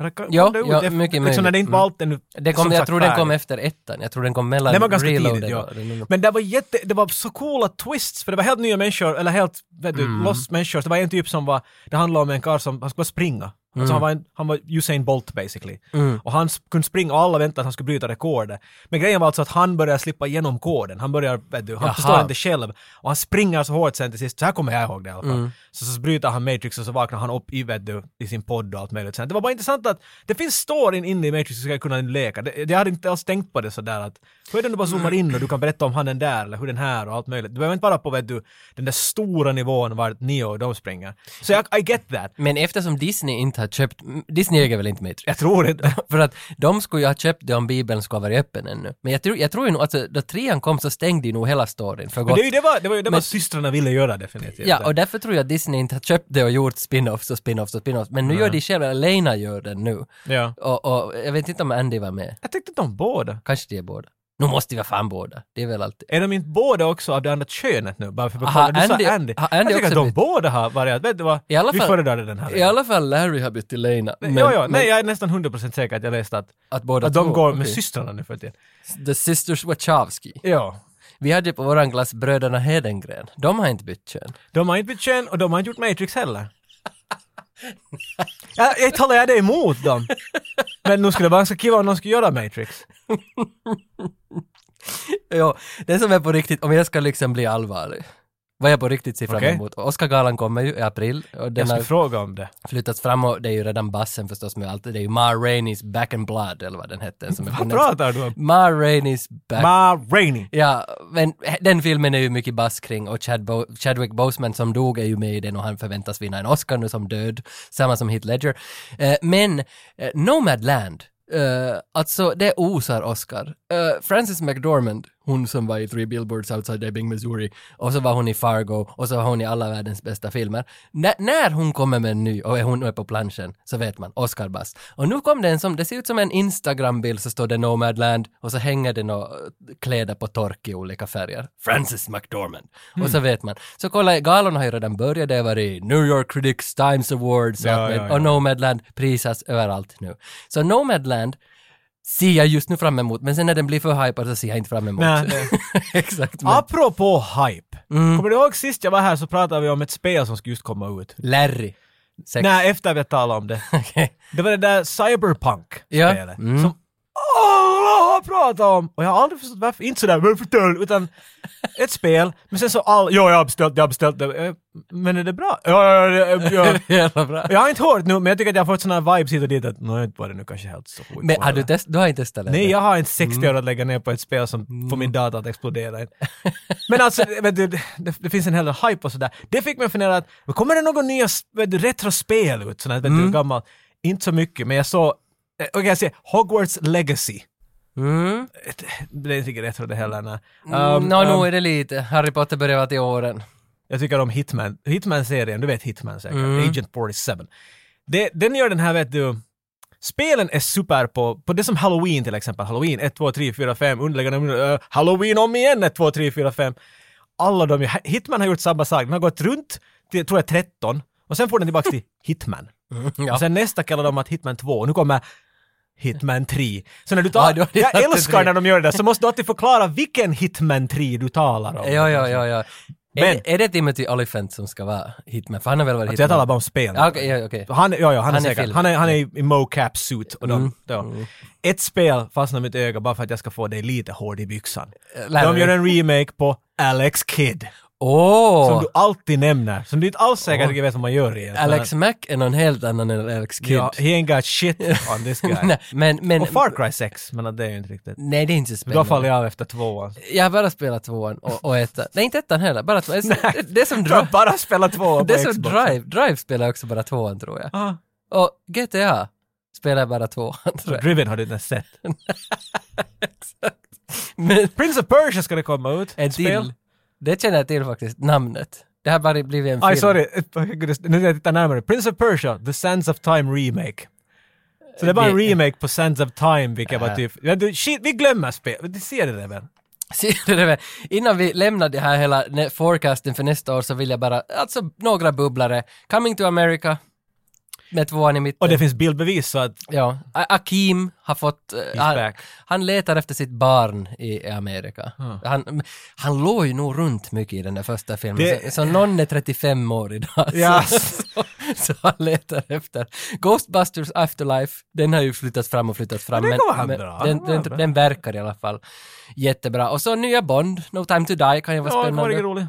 Speaker 2: Eller kom-
Speaker 1: Ja,
Speaker 2: kom det ut
Speaker 1: ja,
Speaker 2: efter-
Speaker 1: mycket
Speaker 2: liksom, när
Speaker 1: möjligt. Mm.
Speaker 2: det inte var allt ännu.
Speaker 1: det kom,
Speaker 2: som
Speaker 1: jag
Speaker 2: sagt
Speaker 1: tror den kom
Speaker 2: färdigt.
Speaker 1: efter ettan, jag tror den kom mellan
Speaker 2: Den var ganska
Speaker 1: Reloaded
Speaker 2: tidigt, ja.
Speaker 1: och Reloaded.
Speaker 2: Men det var jätte, det var så coola twists, för det var helt nya människor, eller helt, vet du, lost människor. Så det var en typ som var, det handlade om en karl som, han skulle bara springa. Alltså han, var en, han var Usain Bolt basically. Och han sp- kunde springa och alla väntade att han skulle bryta rekordet. Men grejen var alltså att han började slippa igenom koden. Han börjar, vet du, han
Speaker 1: Jaha.
Speaker 2: förstår inte själv. Och han springer så hårt sen till sist, så här kommer jag ihåg det i alla fall.
Speaker 1: Mm.
Speaker 2: Så, så bryter han Matrix och så vaknar han upp i, vet du, i sin podd och allt möjligt. Sen. Det var bara intressant att det finns storyn inne i Matrix som jag kunna leka. Det, jag hade inte alls tänkt på det sådär att hur är det om du bara zoomar in och du kan berätta om han den där eller hur den här och allt möjligt. Du behöver inte bara på, vet du, den där stora nivån vart Neo och de springer. Så jag, I get that.
Speaker 1: Men eftersom Disney inte har köpt, Disney äger väl inte Matrix?
Speaker 2: Jag tror inte.
Speaker 1: För att de skulle ju ha köpt det om Bibeln skulle ha varit öppen ännu. Men jag tror, jag tror ju nog, alltså då trean kom så stängde ju nog hela storyn för
Speaker 2: Men
Speaker 1: gott.
Speaker 2: det, är ju- det var, det var ju det var
Speaker 1: Men-
Speaker 2: systrarna ville göra definitivt.
Speaker 1: Ja, och därför tror jag att Disney inte har köpt det och gjort spin-offs och spin-offs och spin-offs. Men nu gör de själva, Elena gör det nu.
Speaker 2: ja.
Speaker 1: Och, och jag vet inte om Andy var med.
Speaker 2: Jag tyckte de båda.
Speaker 1: Kanske de är båda. Nu måste de vara fan båda. Det är väl alltid.
Speaker 2: Är de inte båda också av det andra könet nu? Bara för att
Speaker 1: Aha,
Speaker 2: kolla. Du sa
Speaker 1: Andy-
Speaker 2: Andy.
Speaker 1: har Andy
Speaker 2: jag tycker
Speaker 1: också
Speaker 2: att de
Speaker 1: bytt?
Speaker 2: båda har varit att, vet du vad?
Speaker 1: I alla
Speaker 2: vi
Speaker 1: fall-
Speaker 2: föredrade den här.
Speaker 1: I alla fall Larry har bytt till Lena. Men,
Speaker 2: jo, jo,
Speaker 1: men
Speaker 2: nej jag är nästan 100% säker att jag läste att,
Speaker 1: att båda
Speaker 2: att de
Speaker 1: två,
Speaker 2: går med
Speaker 1: okej.
Speaker 2: systrarna nu för tiden.
Speaker 1: The Sisters Wachowski.
Speaker 2: Ja.
Speaker 1: Vi hade ju på våran glass bröderna Hedengren. De har inte bytt kön.
Speaker 2: De har inte bytt kön och de har inte gjort Matrix heller. jag, jag talar jag det emot dem. Men nu skulle det vara ganska kiva om någon skulle göra Matrix.
Speaker 1: Jo, det som är på riktigt, om jag ska liksom bli allvarlig, vad jag på riktigt ser fram
Speaker 2: Okej.
Speaker 1: emot. Oscargalan kommer ju i april och
Speaker 2: Jag
Speaker 1: den
Speaker 2: skulle
Speaker 1: har
Speaker 2: fråga om det.
Speaker 1: flyttats fram och det är ju redan bassen förstås med allt. Det är ju Ma Rainey's Back and Blood eller vad den hette. Som är på
Speaker 2: Vad
Speaker 1: Netflix.
Speaker 2: pratar du om?
Speaker 1: Ma Rainey's Back
Speaker 2: Ma Rainey.
Speaker 1: Ja, men den filmen är ju mycket bass kring och Chad Bo- Chadwick Boseman som dog är ju med i den och han förväntas vinna en Oscar nu som död, samma som Heath Ledger. Eh, men eh, Nomadland, eh, alltså det osar Oscar. Eh, Frances McDormand, hon som var i Three Billboards Outside Ebbing, Missouri, och så var hon i Fargo och så var hon i alla världens bästa filmer. N- när hon kommer med en ny och är hon är på planschen så vet man, Oscar Bass. Och nu kom det en som, det ser ut som en Instagram-bild så står det Nomadland och så hänger det några kläder på tork i olika färger. Frances McDormand. Och
Speaker 2: Mm.
Speaker 1: så vet man. Så kolla, galorna har ju redan börjat, det har varit New York Critics Times Awards
Speaker 2: Ja,
Speaker 1: och, allt
Speaker 2: ja,
Speaker 1: med-
Speaker 2: ja.
Speaker 1: och Nomadland prisas överallt nu. Så Nomadland ser jag just nu fram emot, men sen när den blir för hypad så ser jag inte fram emot.
Speaker 2: Nej, nej.
Speaker 1: Exakt. Men. Mm.
Speaker 2: Apropå hype. Kommer du ihåg sist jag var här så pratade vi om ett spel som skulle just komma ut.
Speaker 1: Larry. Sex.
Speaker 2: Nej, efter vi har talat om det.
Speaker 1: Okej.
Speaker 2: Det var det där Cyberpunk-spelet.
Speaker 1: Ja, mm.
Speaker 2: Som alla har pratat om! Och jag har aldrig förstått varför. Inte sådär varför tull, utan ett spel. Men sen så all... Ja, jag har beställt, jag har beställt det. Eh, Men är det bra? Ja, ja, ja, ja. ja.
Speaker 1: Jävla bra.
Speaker 2: Jag har inte hört nu, men jag tycker att jag har fått sådana vibes hit och dit att nu var det nu kanske helt så skit.
Speaker 1: Men har du, test- du har inte testat det?
Speaker 2: Nej, jag har inte 60 år att lägga ner på ett spel som får min data att explodera. Men alltså, vet du, det, det finns en hel del hype och sådär. Det fick mig att fundera, att, kommer det något nya s- vet du, retrospel ut? Sådär, vet du, gammalt? Inte så mycket, men jag såg, eh, okej jag ser Hogwarts Legacy.
Speaker 1: Mm.
Speaker 2: Ett- Det är inte riktigt retro det heller. nej.
Speaker 1: Um,
Speaker 2: Um,
Speaker 1: Nå,
Speaker 2: um,
Speaker 1: nu är det lite. Harry Potter börjar vara till åren.
Speaker 2: Jag tycker om Hitman. Hitman-serien, du vet Hitman säkert.
Speaker 1: Mm.
Speaker 2: Agent 47. Det, den gör den här, vet du, spelen är super på, på det som Halloween till exempel. Halloween 1, 2, 3, 4, 5, underliggande, underliggande, eh, Halloween om igen 1, 2, 3, 4, 5. Alla de, Hitman har gjort samma sak. Den har gått runt till, tror jag, 13 och sen får den tillbaka till Hitman.
Speaker 1: Mm, Ja.
Speaker 2: Och sen nästa kallar de att Hitman 2 och nu kommer Hitman 3. Så när du
Speaker 1: Ja,
Speaker 2: tar,
Speaker 1: du har redan
Speaker 2: jag
Speaker 1: till
Speaker 2: älskar
Speaker 1: tre.
Speaker 2: när de gör det där, så måste du alltid förklara vilken Hitman 3 du talar om.
Speaker 1: Ja, ja, ja, ja. Är,
Speaker 2: Men-
Speaker 1: det- är det Timothy Olyphant som ska vara hitman? För han har väl varit
Speaker 2: Alltså jag talar bara om spel.
Speaker 1: Ja, okej, ja, okej.
Speaker 2: Han, ja, ja, han, är
Speaker 1: Han är
Speaker 2: säkert.
Speaker 1: film. Mm.
Speaker 2: han, är, han är i mocap suit. Och de, ja. Ett spel fastnar i mitt öga bara för att jag ska få dig lite hård i byxan.
Speaker 1: Larry.
Speaker 2: De gör en remake på Alex Kidd. Som
Speaker 1: Åh!
Speaker 2: du alltid nämner. Som du inte alls säkert riktigt vet vad man gör egentligen.
Speaker 1: Alex Mack är någon helt annan än Alex Kidd.
Speaker 2: Ja, he ain't got shit on this guy.
Speaker 1: Nej, men, men...
Speaker 2: och Far Cry 6, men det är ju inte riktigt.
Speaker 1: Nej, det är inte så
Speaker 2: Då
Speaker 1: spännande.
Speaker 2: faller jag av efter tvåan.
Speaker 1: Jag har bara spelat tvåan och, och ettan. Nej, inte ettan heller. Bara tvåan. Det, det är som
Speaker 2: Jag
Speaker 1: Drive.
Speaker 2: bara spelar tvåan
Speaker 1: Det
Speaker 2: på
Speaker 1: är som
Speaker 2: Xbox.
Speaker 1: Drive. Drive spelar också bara tvåan, tror jag.
Speaker 2: Ah,
Speaker 1: Och GTA spelar bara tvåan, tror jag.
Speaker 2: Driven har du inte ens sett.
Speaker 1: Men
Speaker 2: Prince of Persia ska det komma ut.
Speaker 1: en
Speaker 2: Ett spel.
Speaker 1: till. Det känner jag till faktiskt, namnet. Det har bara blivit en film.
Speaker 2: Aj, sorry. oh, Nu när jag tittar närmare. Prince of Persia, The Sands of Time Remake. Så det var en
Speaker 1: Det-
Speaker 2: remake på Sands of Time, vilket var
Speaker 1: Äh.
Speaker 2: typ... Ja, du, shit, vi glömmer spel. Du ser det där väl?
Speaker 1: Ser du det väl? Innan vi lämnar det här hela nä- forecasten för nästa år så vill jag bara, alltså några bubblare. Coming to America med tvåan i
Speaker 2: Och
Speaker 1: mitten.
Speaker 2: det finns bildbevis så att...
Speaker 1: Ja, A- Akim har fått... eh, han,
Speaker 2: back.
Speaker 1: han letar efter sitt barn i i Amerika. Han, han låg ju nog runt mycket i den där första filmen.
Speaker 2: Det-
Speaker 1: Så, så någon är 35 år idag.
Speaker 2: Ja.
Speaker 1: Så, så, så han letar efter. Ghostbusters Afterlife, den har ju flyttats fram och flyttats fram.
Speaker 2: Men den kommer han bra.
Speaker 1: den, den,
Speaker 2: Den kommer bra.
Speaker 1: den verkar i alla fall jättebra. Och så nya Bond, No Time To Die kan ju vara
Speaker 2: Ja, det var
Speaker 1: spännande.
Speaker 2: riktigt roligt.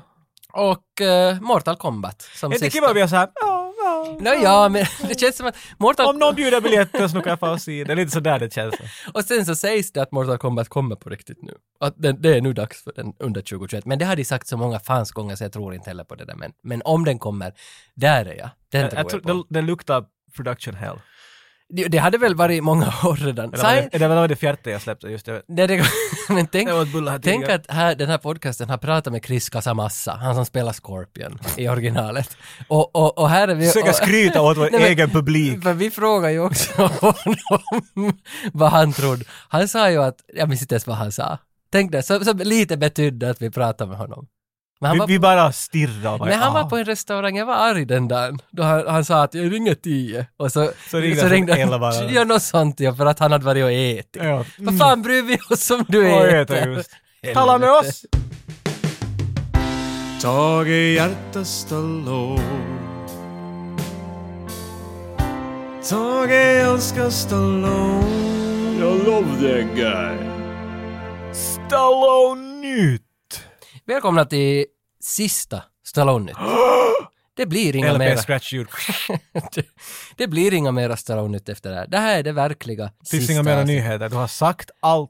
Speaker 1: Och eh, Mortal Kombat som
Speaker 2: Är det
Speaker 1: sista.
Speaker 2: kul att vi har såhär... Ja, ja.
Speaker 1: Nå, ja, men det känns som att Mortal
Speaker 2: Om någon bjuder biljetter så nu kan jag få se. Det är lite sådär det känns.
Speaker 1: Och sen så sägs det att Mortal Kombat kommer på riktigt nu. Att det, det är nu dags för den under 2021. Men det har de sagt så många fans gånger så jag tror inte heller på det där. Men, men om den kommer, där är jag. Den
Speaker 2: Jag,
Speaker 1: tror jag,
Speaker 2: jag tror,
Speaker 1: på.
Speaker 2: det, det luktar production hell.
Speaker 1: Det, det hade väl varit många år redan.
Speaker 2: Eller var
Speaker 1: Sci-
Speaker 2: det, eller var det det fjärde jag släppte just? Jag vet.
Speaker 1: Nej, det, men tänk,
Speaker 2: Det var ett bulla här
Speaker 1: tänk
Speaker 2: tidigare.
Speaker 1: att här, den här podcasten har pratat med Chris Casamassa, han som spelar Scorpion i originalet. Och, och, och här är vi...
Speaker 2: Försöka
Speaker 1: och-
Speaker 2: skryta åt vår
Speaker 1: Nej, men-
Speaker 2: egen publik.
Speaker 1: För vi frågar ju också honom vad han trodde. Han sa ju att, jag minns inte ens vad han sa. Tänk det, som, som lite betydde att vi pratade med honom. Men han,
Speaker 2: Vi,
Speaker 1: var,
Speaker 2: vi bara stirrar. och bara,
Speaker 1: men han var
Speaker 2: ah.
Speaker 1: på en restaurang, jag var arg den dagen, då han, han sa att jag ringer tio. Och så,
Speaker 2: Så ringde han elva.
Speaker 1: Ja, något sånt ja, för att han hade varit och ätit.
Speaker 2: Ja.
Speaker 1: Vad fan bryr vi oss om du
Speaker 2: Vad
Speaker 1: äter?
Speaker 2: heter just? Tala med
Speaker 1: Helvete.
Speaker 2: oss!
Speaker 4: Tage hjärta Stallone Tage älskar Stallone Jag love that guy
Speaker 2: Stallone nytt!
Speaker 1: Välkomna till sista Stallone-nytt. Det blir inga mera.
Speaker 2: LP scratchljud.
Speaker 1: det, det blir inga mera Stallone-nytt efter det här. Det här är det verkliga
Speaker 2: Finns
Speaker 1: sista alltså.
Speaker 2: inga mera
Speaker 1: avsnittet.
Speaker 2: nyheter. Du har sagt allt.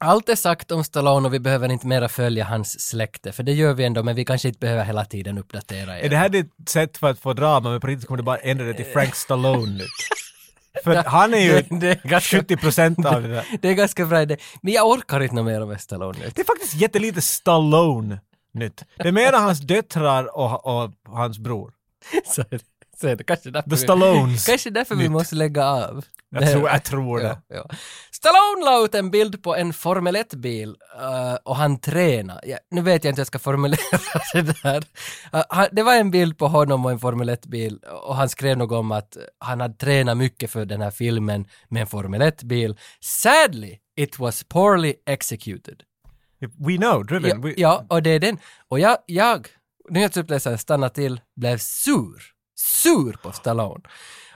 Speaker 1: Allt är sagt om Stallone och vi behöver inte mera följa hans släkte, för det gör vi ändå, men vi kanske inte behöver hela tiden uppdatera
Speaker 2: Är
Speaker 1: er.
Speaker 2: det här ditt sätt för att få drama men på riktigt kommer du bara ändra det till Frank Stallone nytt? För att han är ju
Speaker 1: Det- det är ganska-
Speaker 2: 70% av det där.
Speaker 1: Det är ganska bra idé, men jag orkar inte något mer om Stallone nu.
Speaker 2: Det är faktiskt jättelite Stallone nytt. Det är mera hans döttrar och, och hans bror.
Speaker 1: Så är det, så är det. Kanske därför,
Speaker 2: The
Speaker 1: vi,
Speaker 2: Stallones.
Speaker 1: kanske därför vi måste lägga av. Det
Speaker 2: Jag
Speaker 1: här-
Speaker 2: tror, jag tror det.
Speaker 1: Ja, ja. Stallone la ut en bild på en Formel 1-bil eh, och han tränar. Ja, nu vet jag inte hur jag ska formulera det där. Eh, han, det var en bild på honom och en Formel 1-bil och han skrev något om att han hade tränat mycket för den här filmen med en Formel 1-bil. Sadly, it was poorly executed.
Speaker 2: We know, driven.
Speaker 1: Ja,
Speaker 2: We,
Speaker 1: typ ja, och det är den. Och jag, jag nu när jag läser stanna till, blev sur sur på Stallone.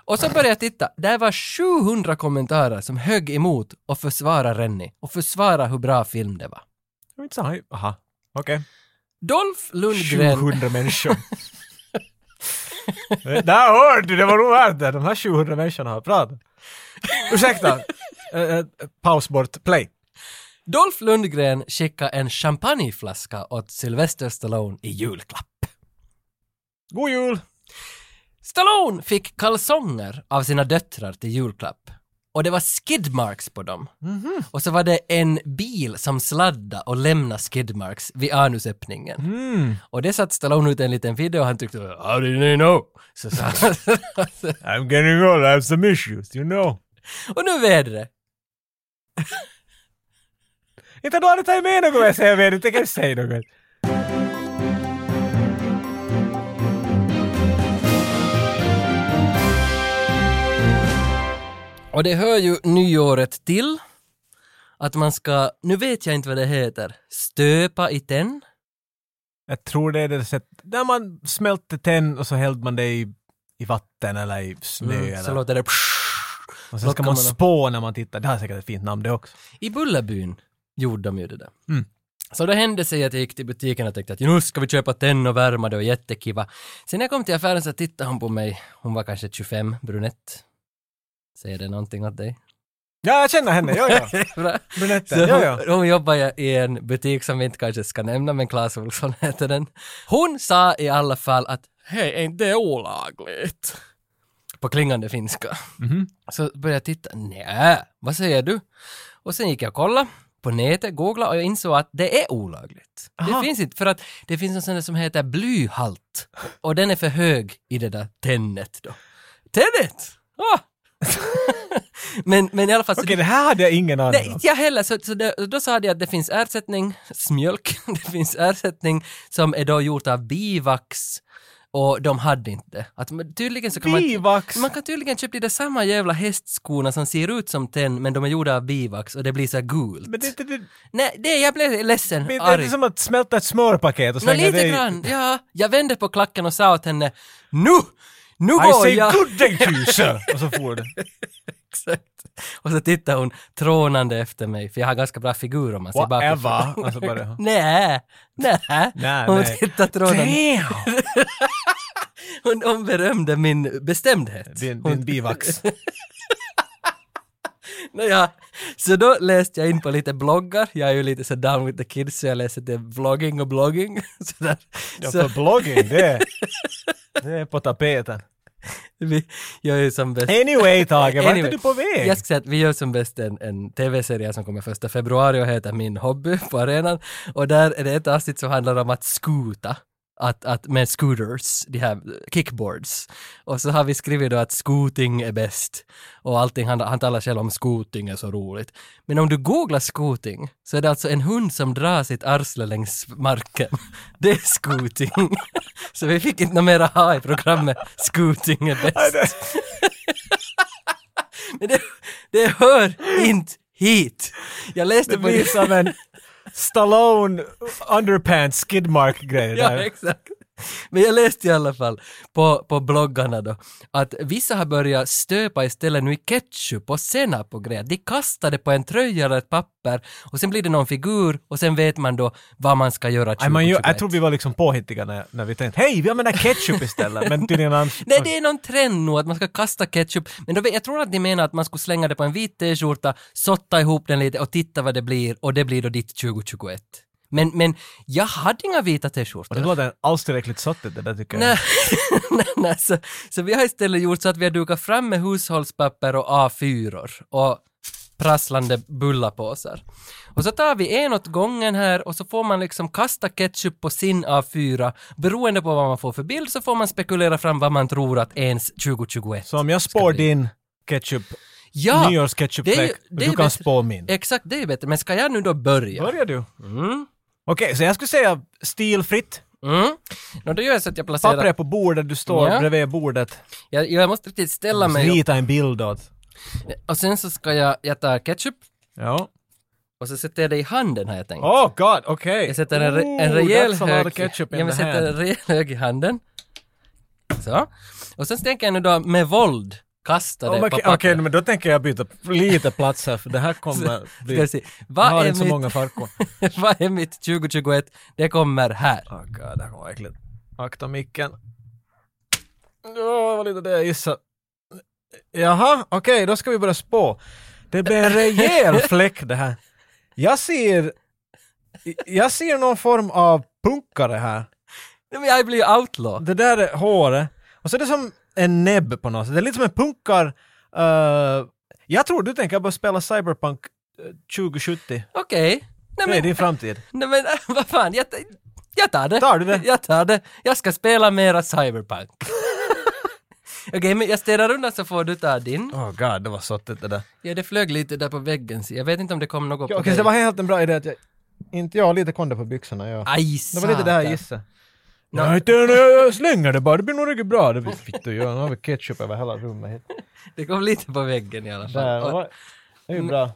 Speaker 1: Och så började jag titta, där var 700 kommentarer som högg emot och försvarade Rennie och försvarade hur bra film det var.
Speaker 2: Det var inte så haj- Aha, okej.
Speaker 1: Dolph Lundgren
Speaker 2: 700 människor. Eh, Där hörde du, det var nog värt det. De här 700 människorna har pratat. Ursäkta. Eh, eh, paus bort, play.
Speaker 1: Dolph Lundgren skickade en champagneflaska åt Sylvester Stallone i julklapp.
Speaker 2: God jul!
Speaker 1: Stallone fick kalsonger av sina döttrar till julklapp. Och det var skidmarks på dem. Och så var det en bil som sladdade och lämnade skidmarks vid anusöppningen.
Speaker 2: Mm.
Speaker 1: Och det satt Stallone ut en liten video och han tyckte “How did they know?” så sa han.
Speaker 2: I'm getting old, I have some issues, you know.
Speaker 1: Och nu är vädret.
Speaker 2: Inte då har du tagit med något vad jag säger, men du tänker inte säga något.
Speaker 1: Och det hör ju nyåret till att man ska, nu vet jag inte vad det heter, stöpa i tenn.
Speaker 2: Jag tror det är det sätt där man smälter tenn och så hällde man det i, i vatten eller i snö
Speaker 1: Mm, så
Speaker 2: eller...
Speaker 1: låter det
Speaker 2: Och sen ska
Speaker 1: lockar
Speaker 2: man
Speaker 1: man dem.
Speaker 2: spå när man tittar. Det har säkert ett fint namn det också.
Speaker 1: I Bullerbyn gjorde de ju det där.
Speaker 2: Mm.
Speaker 1: Så det hände sig att jag gick till butiken och tänkte att nu ska vi köpa tenn och värma det och jättekiva. Sen när jag kom till affären så tittade hon på mig. Hon var kanske 25, brunett. Säger det någonting åt dig?
Speaker 2: Ja, jag känner henne. Ja, ja.
Speaker 1: Bra.
Speaker 2: Brunetten.
Speaker 1: Så
Speaker 2: Ja, ja.
Speaker 1: hon, hon jobbar ju i en butik som vi inte kanske ska nämna, men Clas Ohlson heter den. Hon sa i alla fall att hej, är inte det olagligt? På klingande finska. Så började jag titta, nej, vad säger du? Och sen gick jag och kollade på nätet, googlade och jag insåg att det är olagligt.
Speaker 2: Aha.
Speaker 1: Det finns inte, för att det finns en sån där som heter blyhalt och den är för hög i det där tennet då. Tennet! Ah! men, men i alla fall så
Speaker 2: Okej, det här hade jag ingen
Speaker 1: Nej,
Speaker 2: aning om.
Speaker 1: inte jag heller. Så, så det, då sa de att det finns ersättning, smjölk, det finns ersättning som är då gjort av bivax och de hade inte. Att, men tydligen så kan man,
Speaker 2: Bivax!
Speaker 1: man kan tydligen köpa de där samma jävla hästskorna som ser ut som tenn men de är gjorda av bivax och det blir så här gult.
Speaker 2: Men det är inte det,
Speaker 1: Nej, det, jag blev ledsen,
Speaker 2: det är
Speaker 1: arg.
Speaker 2: inte som att smälta ett smörpaket och
Speaker 1: Nå,
Speaker 2: slänga det
Speaker 1: lite
Speaker 2: i-
Speaker 1: grann, ja. Jag vände på klacken och sa åt henne nu, nu
Speaker 2: I
Speaker 1: går
Speaker 2: say
Speaker 1: jag.
Speaker 2: good day to you sir! Och så får det.
Speaker 1: Exakt. Och så tittar hon trånande efter mig, för jag har ganska bra figur om man ser bakifrån.
Speaker 2: Whatever! Och så bara...
Speaker 1: Nej, nej.
Speaker 2: Nej,
Speaker 1: Hon
Speaker 2: nej.
Speaker 1: tittade tråden.
Speaker 2: Damn!
Speaker 1: Hon, hon berömde min bestämdhet.
Speaker 2: Din,
Speaker 1: Hon-
Speaker 2: din bivax.
Speaker 1: Nåja, så då läste jag in på lite bloggar. Jag är ju lite så down with the kids så jag läser det vlogging och blogging. Sådär.
Speaker 2: Ja,
Speaker 1: Så
Speaker 2: för blogging, det är, det är på tapeten.
Speaker 1: vi gör ju som bäst.
Speaker 2: Anyway, Tage, vart är
Speaker 1: Anyway,
Speaker 2: du på väg?
Speaker 1: Jag ska säga att vi gör som bäst en, en tv-serie som kommer första februari och heter Min hobby på arenan. Och där är det ett avsnitt som handlar om att skuta. Att, att med scooters, de här kickboards. Och så har vi skrivit då att scooting är bäst. Och allting, han, han talar själv om scooting är så roligt. Men om du googlar scooting så är det alltså en hund som drar sitt arsle längs marken. Det är scooting. så vi fick inte något mera ha i programmet. Scooting är bäst. Men det, det hör inte hit. Jag läste
Speaker 2: Det
Speaker 1: på din...
Speaker 2: blir som en Stallone underpants skidmark-grej
Speaker 1: Ja,
Speaker 2: där.
Speaker 1: exakt. Men jag läste i alla fall på, på bloggarna då att vissa har börjat stöpa istället nu i ketchup och senap och grejer. De kastar det på en tröja eller ett papper och sen blir det någon figur och sen vet man då vad man ska göra
Speaker 2: Nej, man, ju-
Speaker 1: 2021.
Speaker 2: jag tror vi var liksom påhittiga när, när vi tänkte hej, vi använder ketchup istället. Men tydligen annars...
Speaker 1: Nej, det är någon trend nu att man ska kasta ketchup. Men då, vet- jag tror att de menar att man skulle slänga det på en vit t-skjorta, sotta ihop den lite och titta vad det blir och det blir då ditt 2021. Men, men jag hade inga vita
Speaker 2: Och det
Speaker 1: t-skjortor.
Speaker 2: låter alls tillräckligt sottigt det där tycker
Speaker 1: Nej,
Speaker 2: jag.
Speaker 1: nej, nej, så, så vi har istället gjort så att vi har dukat fram med hushållspapper och A4 och prasslande bullapåsar. Och så tar vi en åt gången här och så får man liksom kasta ketchup på sin A4. Beroende på vad man får för bild så får man spekulera fram vad man tror att ens 2021
Speaker 2: Så om jag spår din ketchup,
Speaker 1: Ja, det är
Speaker 2: nyårsketchupfläck,
Speaker 1: ju- det är
Speaker 2: du kan
Speaker 1: bättre.
Speaker 2: spå min.
Speaker 1: exakt det är ju bättre. Men ska jag nu då börja?
Speaker 2: Börjar du? Okej, så jag skulle säga stilfritt.
Speaker 1: Mm. Nå, det gör jag så att jag placerar...
Speaker 2: Pappret på bordet, du står
Speaker 1: Ja.
Speaker 2: bredvid bordet.
Speaker 1: Jag, jag måste riktigt ställa mig
Speaker 2: Rita en bild åt.
Speaker 1: upp. och sen så ska jag, jag tar ketchup
Speaker 2: Ja.
Speaker 1: och så sätter jag det i handen har jag tänkt.
Speaker 2: Oh god, okej.
Speaker 1: Jag sätter en, re- en
Speaker 2: Ooh,
Speaker 1: rejäl
Speaker 2: that's a lot of
Speaker 1: hög...
Speaker 2: ketchup in
Speaker 1: jag
Speaker 2: the
Speaker 1: sätter en
Speaker 2: hand.
Speaker 1: rejäl hög i handen. Så. Och sen tänker jag nu då med våld kasta det
Speaker 2: Om man-
Speaker 1: på
Speaker 2: Okej,
Speaker 1: pappret.
Speaker 2: men då tänker jag byta lite plats här för det här kommer
Speaker 1: Ska
Speaker 2: bli...
Speaker 1: vi se.
Speaker 2: Jag har
Speaker 1: Vad är,
Speaker 2: inte så
Speaker 1: mitt,
Speaker 2: många farkor.
Speaker 1: vad är mitt 2021? Det kommer här.
Speaker 2: Åh Ah, god, det här kommer vara äckligt. Akta micken. Åh, vad lite det jag gissade. Jaha, okej, då ska vi börja spå. Det blir en rejäl fläck det här. Jag ser... Jag ser någon form av punkare här.
Speaker 1: Nej, men jag blir ju outlaw.
Speaker 2: Det där är håret. Och så är det som en näbb på något sätt. Det är lite som en punkar... eh, jag tror du tänker bara spela Cyberpunk eh, 2070.
Speaker 1: Okej. Nej,
Speaker 2: Det är
Speaker 1: men,
Speaker 2: din framtid.
Speaker 1: nej, men vad fan, jag, ta- jag tar det.
Speaker 2: Tar du det?
Speaker 1: Jag tar det. Jag ska spela mera Cyberpunk. Okej, men jag städar undan så får du ta din.
Speaker 2: Åh Oh god, det var sottigt det där.
Speaker 1: Ja, det flög lite där på väggen. så Jag vet inte om det kom något
Speaker 2: Ja,
Speaker 1: på
Speaker 2: Okej, så
Speaker 1: dig.
Speaker 2: det var helt en bra idé att jag... Inte jag, lite konde på byxorna. Jag.
Speaker 1: Aj,
Speaker 2: Det var lite det här jag
Speaker 1: satan.
Speaker 2: gissade. Nej, inte, jag- jag slänger det bara. Det blir nog riktigt bra. Det blir fitt att göra. Nu har vi ketchup över hela rummet. hit.
Speaker 1: Det kom lite på väggen i alla fall.
Speaker 2: Där, det
Speaker 1: Och,
Speaker 2: var- det är ju bra.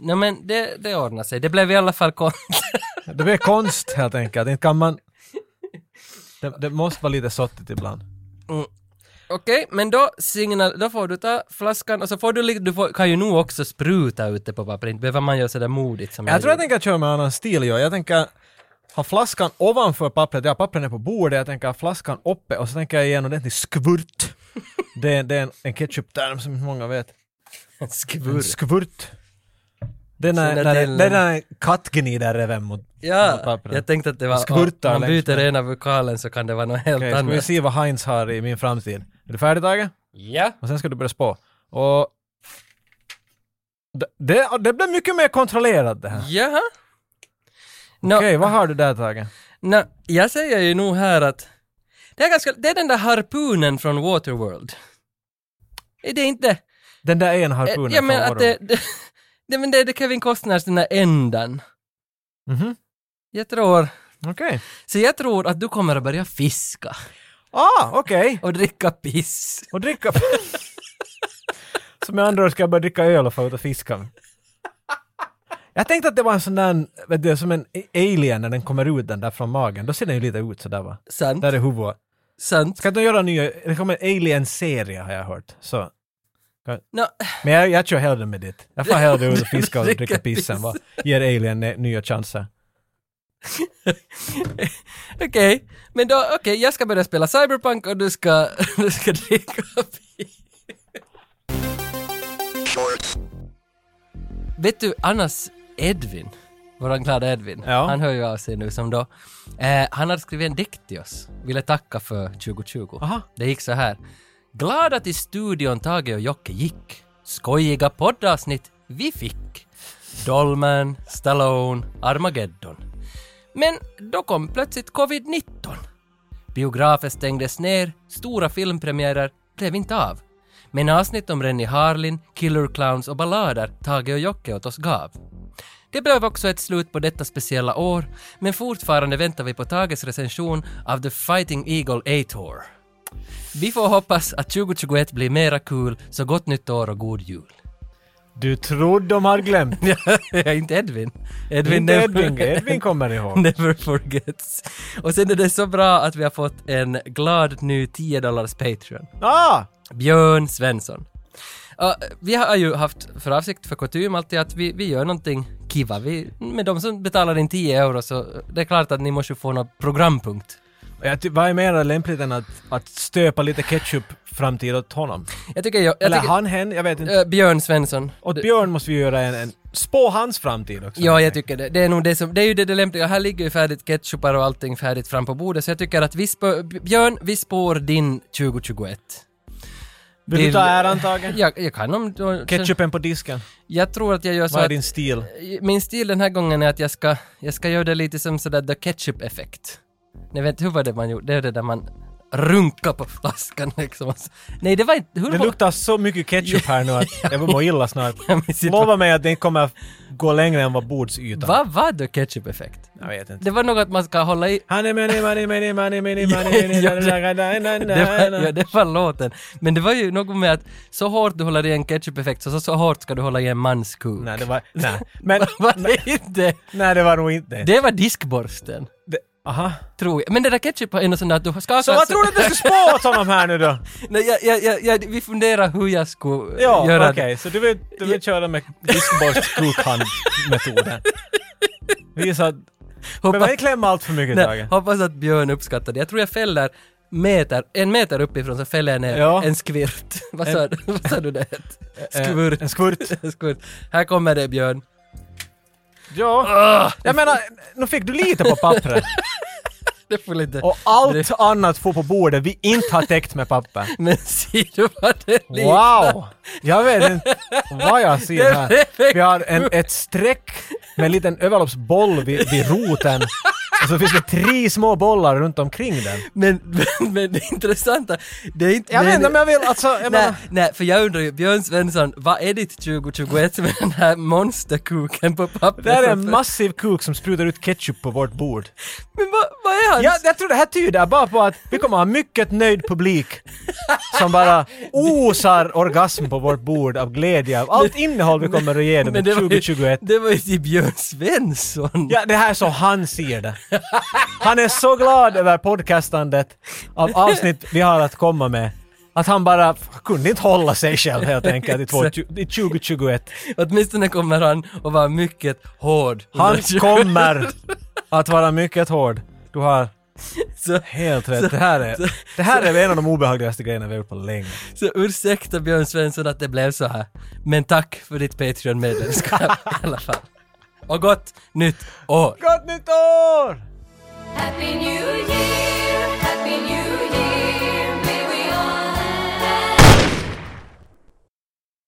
Speaker 1: nej, men det, det ordnar sig. Det blev i alla fall kon-
Speaker 2: Det blir konst helt enkelt. Inte kan man... Det, det måste vara lite sottigt ibland.
Speaker 1: Mm. Okej, men då, signal, då får du ta flaskan och så får du, li- du får, kan ju nog också spruta ute på pappret, inte behöver man göra sådär modigt som
Speaker 2: Jag tror jag
Speaker 1: gjorde.
Speaker 2: tänker köra med en annan stil. Jag, jag tänker ha flaskan ovanför pappret. Ja, pappret är på bordet. Jag tänker ha flaskan uppe och så tänker jag ge en ordentlig skvurt. Det är, det är en, en ketchup-term som inte många vet. En
Speaker 1: Skvurr.
Speaker 2: skvurt. Det är
Speaker 1: Sån där
Speaker 2: när, när, det-
Speaker 1: delen.
Speaker 2: det är när en katt gnider även mot... mot
Speaker 1: Ja,
Speaker 2: pappret.
Speaker 1: jag tänkte att det var,
Speaker 2: Skvurtar
Speaker 1: om man
Speaker 2: längs
Speaker 1: byter
Speaker 2: med.
Speaker 1: ena vokalen så kan det vara något helt
Speaker 2: Okej, ska vi
Speaker 1: annat.
Speaker 2: se vad Heinz har i min framtid. Är du färdig Tage?
Speaker 1: Ja.
Speaker 2: Och sen ska du börja spå. Och... Det, det, det blir mycket mer kontrollerat det här.
Speaker 1: Jaha. Nå,
Speaker 2: Okej, vad har du där Tage?
Speaker 1: nå, jag säger ju nog här att det är, ganska, det är den där harpunen från Waterworld. Är det inte?
Speaker 2: Den där en
Speaker 1: Eh,
Speaker 2: harpunen
Speaker 1: Ja, men
Speaker 2: från
Speaker 1: att det, det, det, men det är det Kevin Costners den där ändan.
Speaker 2: Mhm,
Speaker 1: Jag tror,
Speaker 2: Okej.
Speaker 1: så jag tror att du kommer att börja fiska.
Speaker 2: Ah, okej.
Speaker 1: och dricka piss.
Speaker 2: Och dricka... Så med andra ord ska jag börja dricka öl och få ut och fiska. Jag tänkte att det var en sån där, vet du, som en alien när den kommer ut den där från magen. Då ser den ju lite ut sådär va.
Speaker 1: Sant,
Speaker 2: Där är huvudet.
Speaker 1: sant.
Speaker 2: Ska inte de göra en ny, det kommer en alien-serie har jag hört. Så.
Speaker 1: Nå,
Speaker 2: Men jag, jag kör hellre med ditt. Jag får hellre ut och fiska och
Speaker 1: Dricka
Speaker 2: dricka pissen va. Ger alien ne- nya chanser.
Speaker 1: okej. Men då, okej, jag ska börja spela Cyberpunk och du ska, du ska dricka piss. Vet du, annars Edvin, våran glada Edvin,
Speaker 2: Ja.
Speaker 1: han hör ju av sig nu som då. Eh, han hade skrivit en dikt till oss, ville tacka för 2020.
Speaker 2: Aha.
Speaker 1: Det gick så här. Glada till studion Tage och Jocke gick. Skojiga poddavsnitt vi fick. Dolmen, Stallone, Armageddon. Men då kom plötsligt covid-19. Biografer stängdes ner, stora filmpremiärer blev inte av. Men avsnitt om Rennie Harlin, Killer Clowns och ballader Tage och Jocke åt oss gav. Det blev också ett slut på detta speciella år, men fortfarande väntar vi på Tages recension av The Fighting Eagle A-Tour. Vi får hoppas att 2021 blir mera kul, så gott nytt år och god jul.
Speaker 2: Du trodde de hade glömt.
Speaker 1: inte Edvin. Edvin,
Speaker 2: Inte
Speaker 1: never-
Speaker 2: Edvin, Edvin kommer ihåg.
Speaker 1: Never forgets. Och sen är det så bra att vi har fått en glad ny 10 dollars Patreon.
Speaker 2: Ah!
Speaker 1: Björn Svensson. Ja, vi har ju haft för avsikt för kutym alltid att vi, vi gör någonting kiva. Vi, med de som betalar in 10 euro så det är klart att ni måste få någon programpunkt.
Speaker 2: Jag ty- vad är mer lämpligt än att, att stöpa lite ketchup framtid åt honom?
Speaker 1: Jag tycker jag... jag
Speaker 2: Eller
Speaker 1: tycker,
Speaker 2: han, hen, jag vet inte.
Speaker 1: eh, Björn Svensson.
Speaker 2: Åt Björn måste vi göra en, en spå hans framtid också.
Speaker 1: Ja, jag tycker det. Det är nog det som, det är ju det, det lämpliga. Här ligger ju färdigt ketchupar och allting färdigt fram på bordet, så jag tycker att vi spår, Björn, vi spår din 2021.
Speaker 2: Vill du ta äran Tage?
Speaker 1: Jag, jag kan om... då-
Speaker 2: Ketchupen på disken.
Speaker 1: Jag tror att jag gör så
Speaker 2: Vad är
Speaker 1: att...
Speaker 2: din stil?
Speaker 1: Min stil den här gången är att jag ska, jag ska göra det lite som sådär the ketchup-effekt. Ni vet, hur var det man gjorde? Det är det där man runkar på flaskan liksom. och så- Nej, det var inte... Hur
Speaker 2: Det
Speaker 1: var-
Speaker 2: luktar så mycket ketchup här nu att jag mår illa snart.
Speaker 1: Jag minns inte
Speaker 2: Lova mig att den kommer gå längre än vad bordsytan.
Speaker 1: Vad var the ketchup-effekt?
Speaker 2: Jag vet inte.
Speaker 1: Det var något man ska hålla i...
Speaker 2: Han är money, money, money, money, money,
Speaker 1: Ja,
Speaker 2: money,
Speaker 1: ja,
Speaker 2: money, money,
Speaker 1: Det var, ja,
Speaker 2: money,
Speaker 1: det var låten. Men det var ju något med att så hårt du håller i en ketchup-effekt så, så, så hårt ska du hålla i en mans kuk.
Speaker 2: Nej, det var... Nej. Men...
Speaker 1: Var det inte?
Speaker 2: Nej, det var nog inte
Speaker 1: Det var diskborsten.
Speaker 2: Det- Aha.
Speaker 1: Tror jag. Men det där ketchup är nog sån där att du skakar...
Speaker 2: Så vad tror du att jag ska spå åt honom här nu då?
Speaker 1: Nej, jag, jag, jag, jag, vi funderar hur jag skulle
Speaker 2: Ja,
Speaker 1: göra
Speaker 2: okej, så du vill, du vill köra med diskborstskokhand-metoden. Visa att...
Speaker 1: det.
Speaker 2: Men
Speaker 1: Hoppas,
Speaker 2: vi klämmer allt för mycket i
Speaker 1: nej,
Speaker 2: dagen.
Speaker 1: hoppas att Björn uppskattar det. Jag tror jag fäller meter, en meter uppifrån så fäller jag ner
Speaker 2: Ja.
Speaker 1: en skvirt. vad, sa, du- vad sa du det hette?
Speaker 2: Eh,
Speaker 1: Skvurt.
Speaker 2: En skvurt.
Speaker 1: En skvirt. Här kommer det Björn.
Speaker 2: Ja. Jag menar, nu fick du lite på pappret.
Speaker 1: Det får lite...
Speaker 2: Och allt annat får på bordet vi inte har täckt med papper.
Speaker 1: Men ser du vad det liknar?
Speaker 2: Wow! Jag vet inte vad jag ser här. Vi har en, ett streck med en liten överloppsboll vid, vid roten. Och så finns det tre små bollar runt omkring den.
Speaker 1: Men, men, men det intressanta, det är inte...
Speaker 2: Jag vet
Speaker 1: men-
Speaker 2: inte om jag vill, alltså, jag
Speaker 1: Nej,
Speaker 2: menar,
Speaker 1: nej, för jag undrar ju, Björn Svensson, vad är ditt 2021 med den här monsterkuken på pappret?
Speaker 2: det här är en
Speaker 1: som-
Speaker 2: massiv kuk som sprutar ut ketchup på vårt bord.
Speaker 1: Men vad, vad är hans?
Speaker 2: Jag, jag tror det här tyder bara på att vi kommer ha mycket nöjd publik som bara osar orgasm på vårt bord av glädje av allt innehåll vi kommer att ge dem i
Speaker 1: det var ju-
Speaker 2: 2021.
Speaker 1: Det var ju till Björn Svensson!
Speaker 2: Ja, det här är så han ser det. Han är så glad över podcastandet av avsnitt vi har att komma med. Att han bara kunde inte hålla sig själv helt enkelt i två- i 2021.
Speaker 1: Åtminstone kommer han att vara mycket hård.
Speaker 2: Han kommer att vara mycket hård. Du har
Speaker 1: Så,
Speaker 2: helt rätt. Det här är, det här är en av de obehagligaste grejerna vi har gjort på länge.
Speaker 1: så ursäkta Björn Svensson att det blev så här. Men tack för ditt Patreon-medlemskap i alla fall. Och gott nytt år!
Speaker 2: Gott nytt år!
Speaker 5: Happy New Year!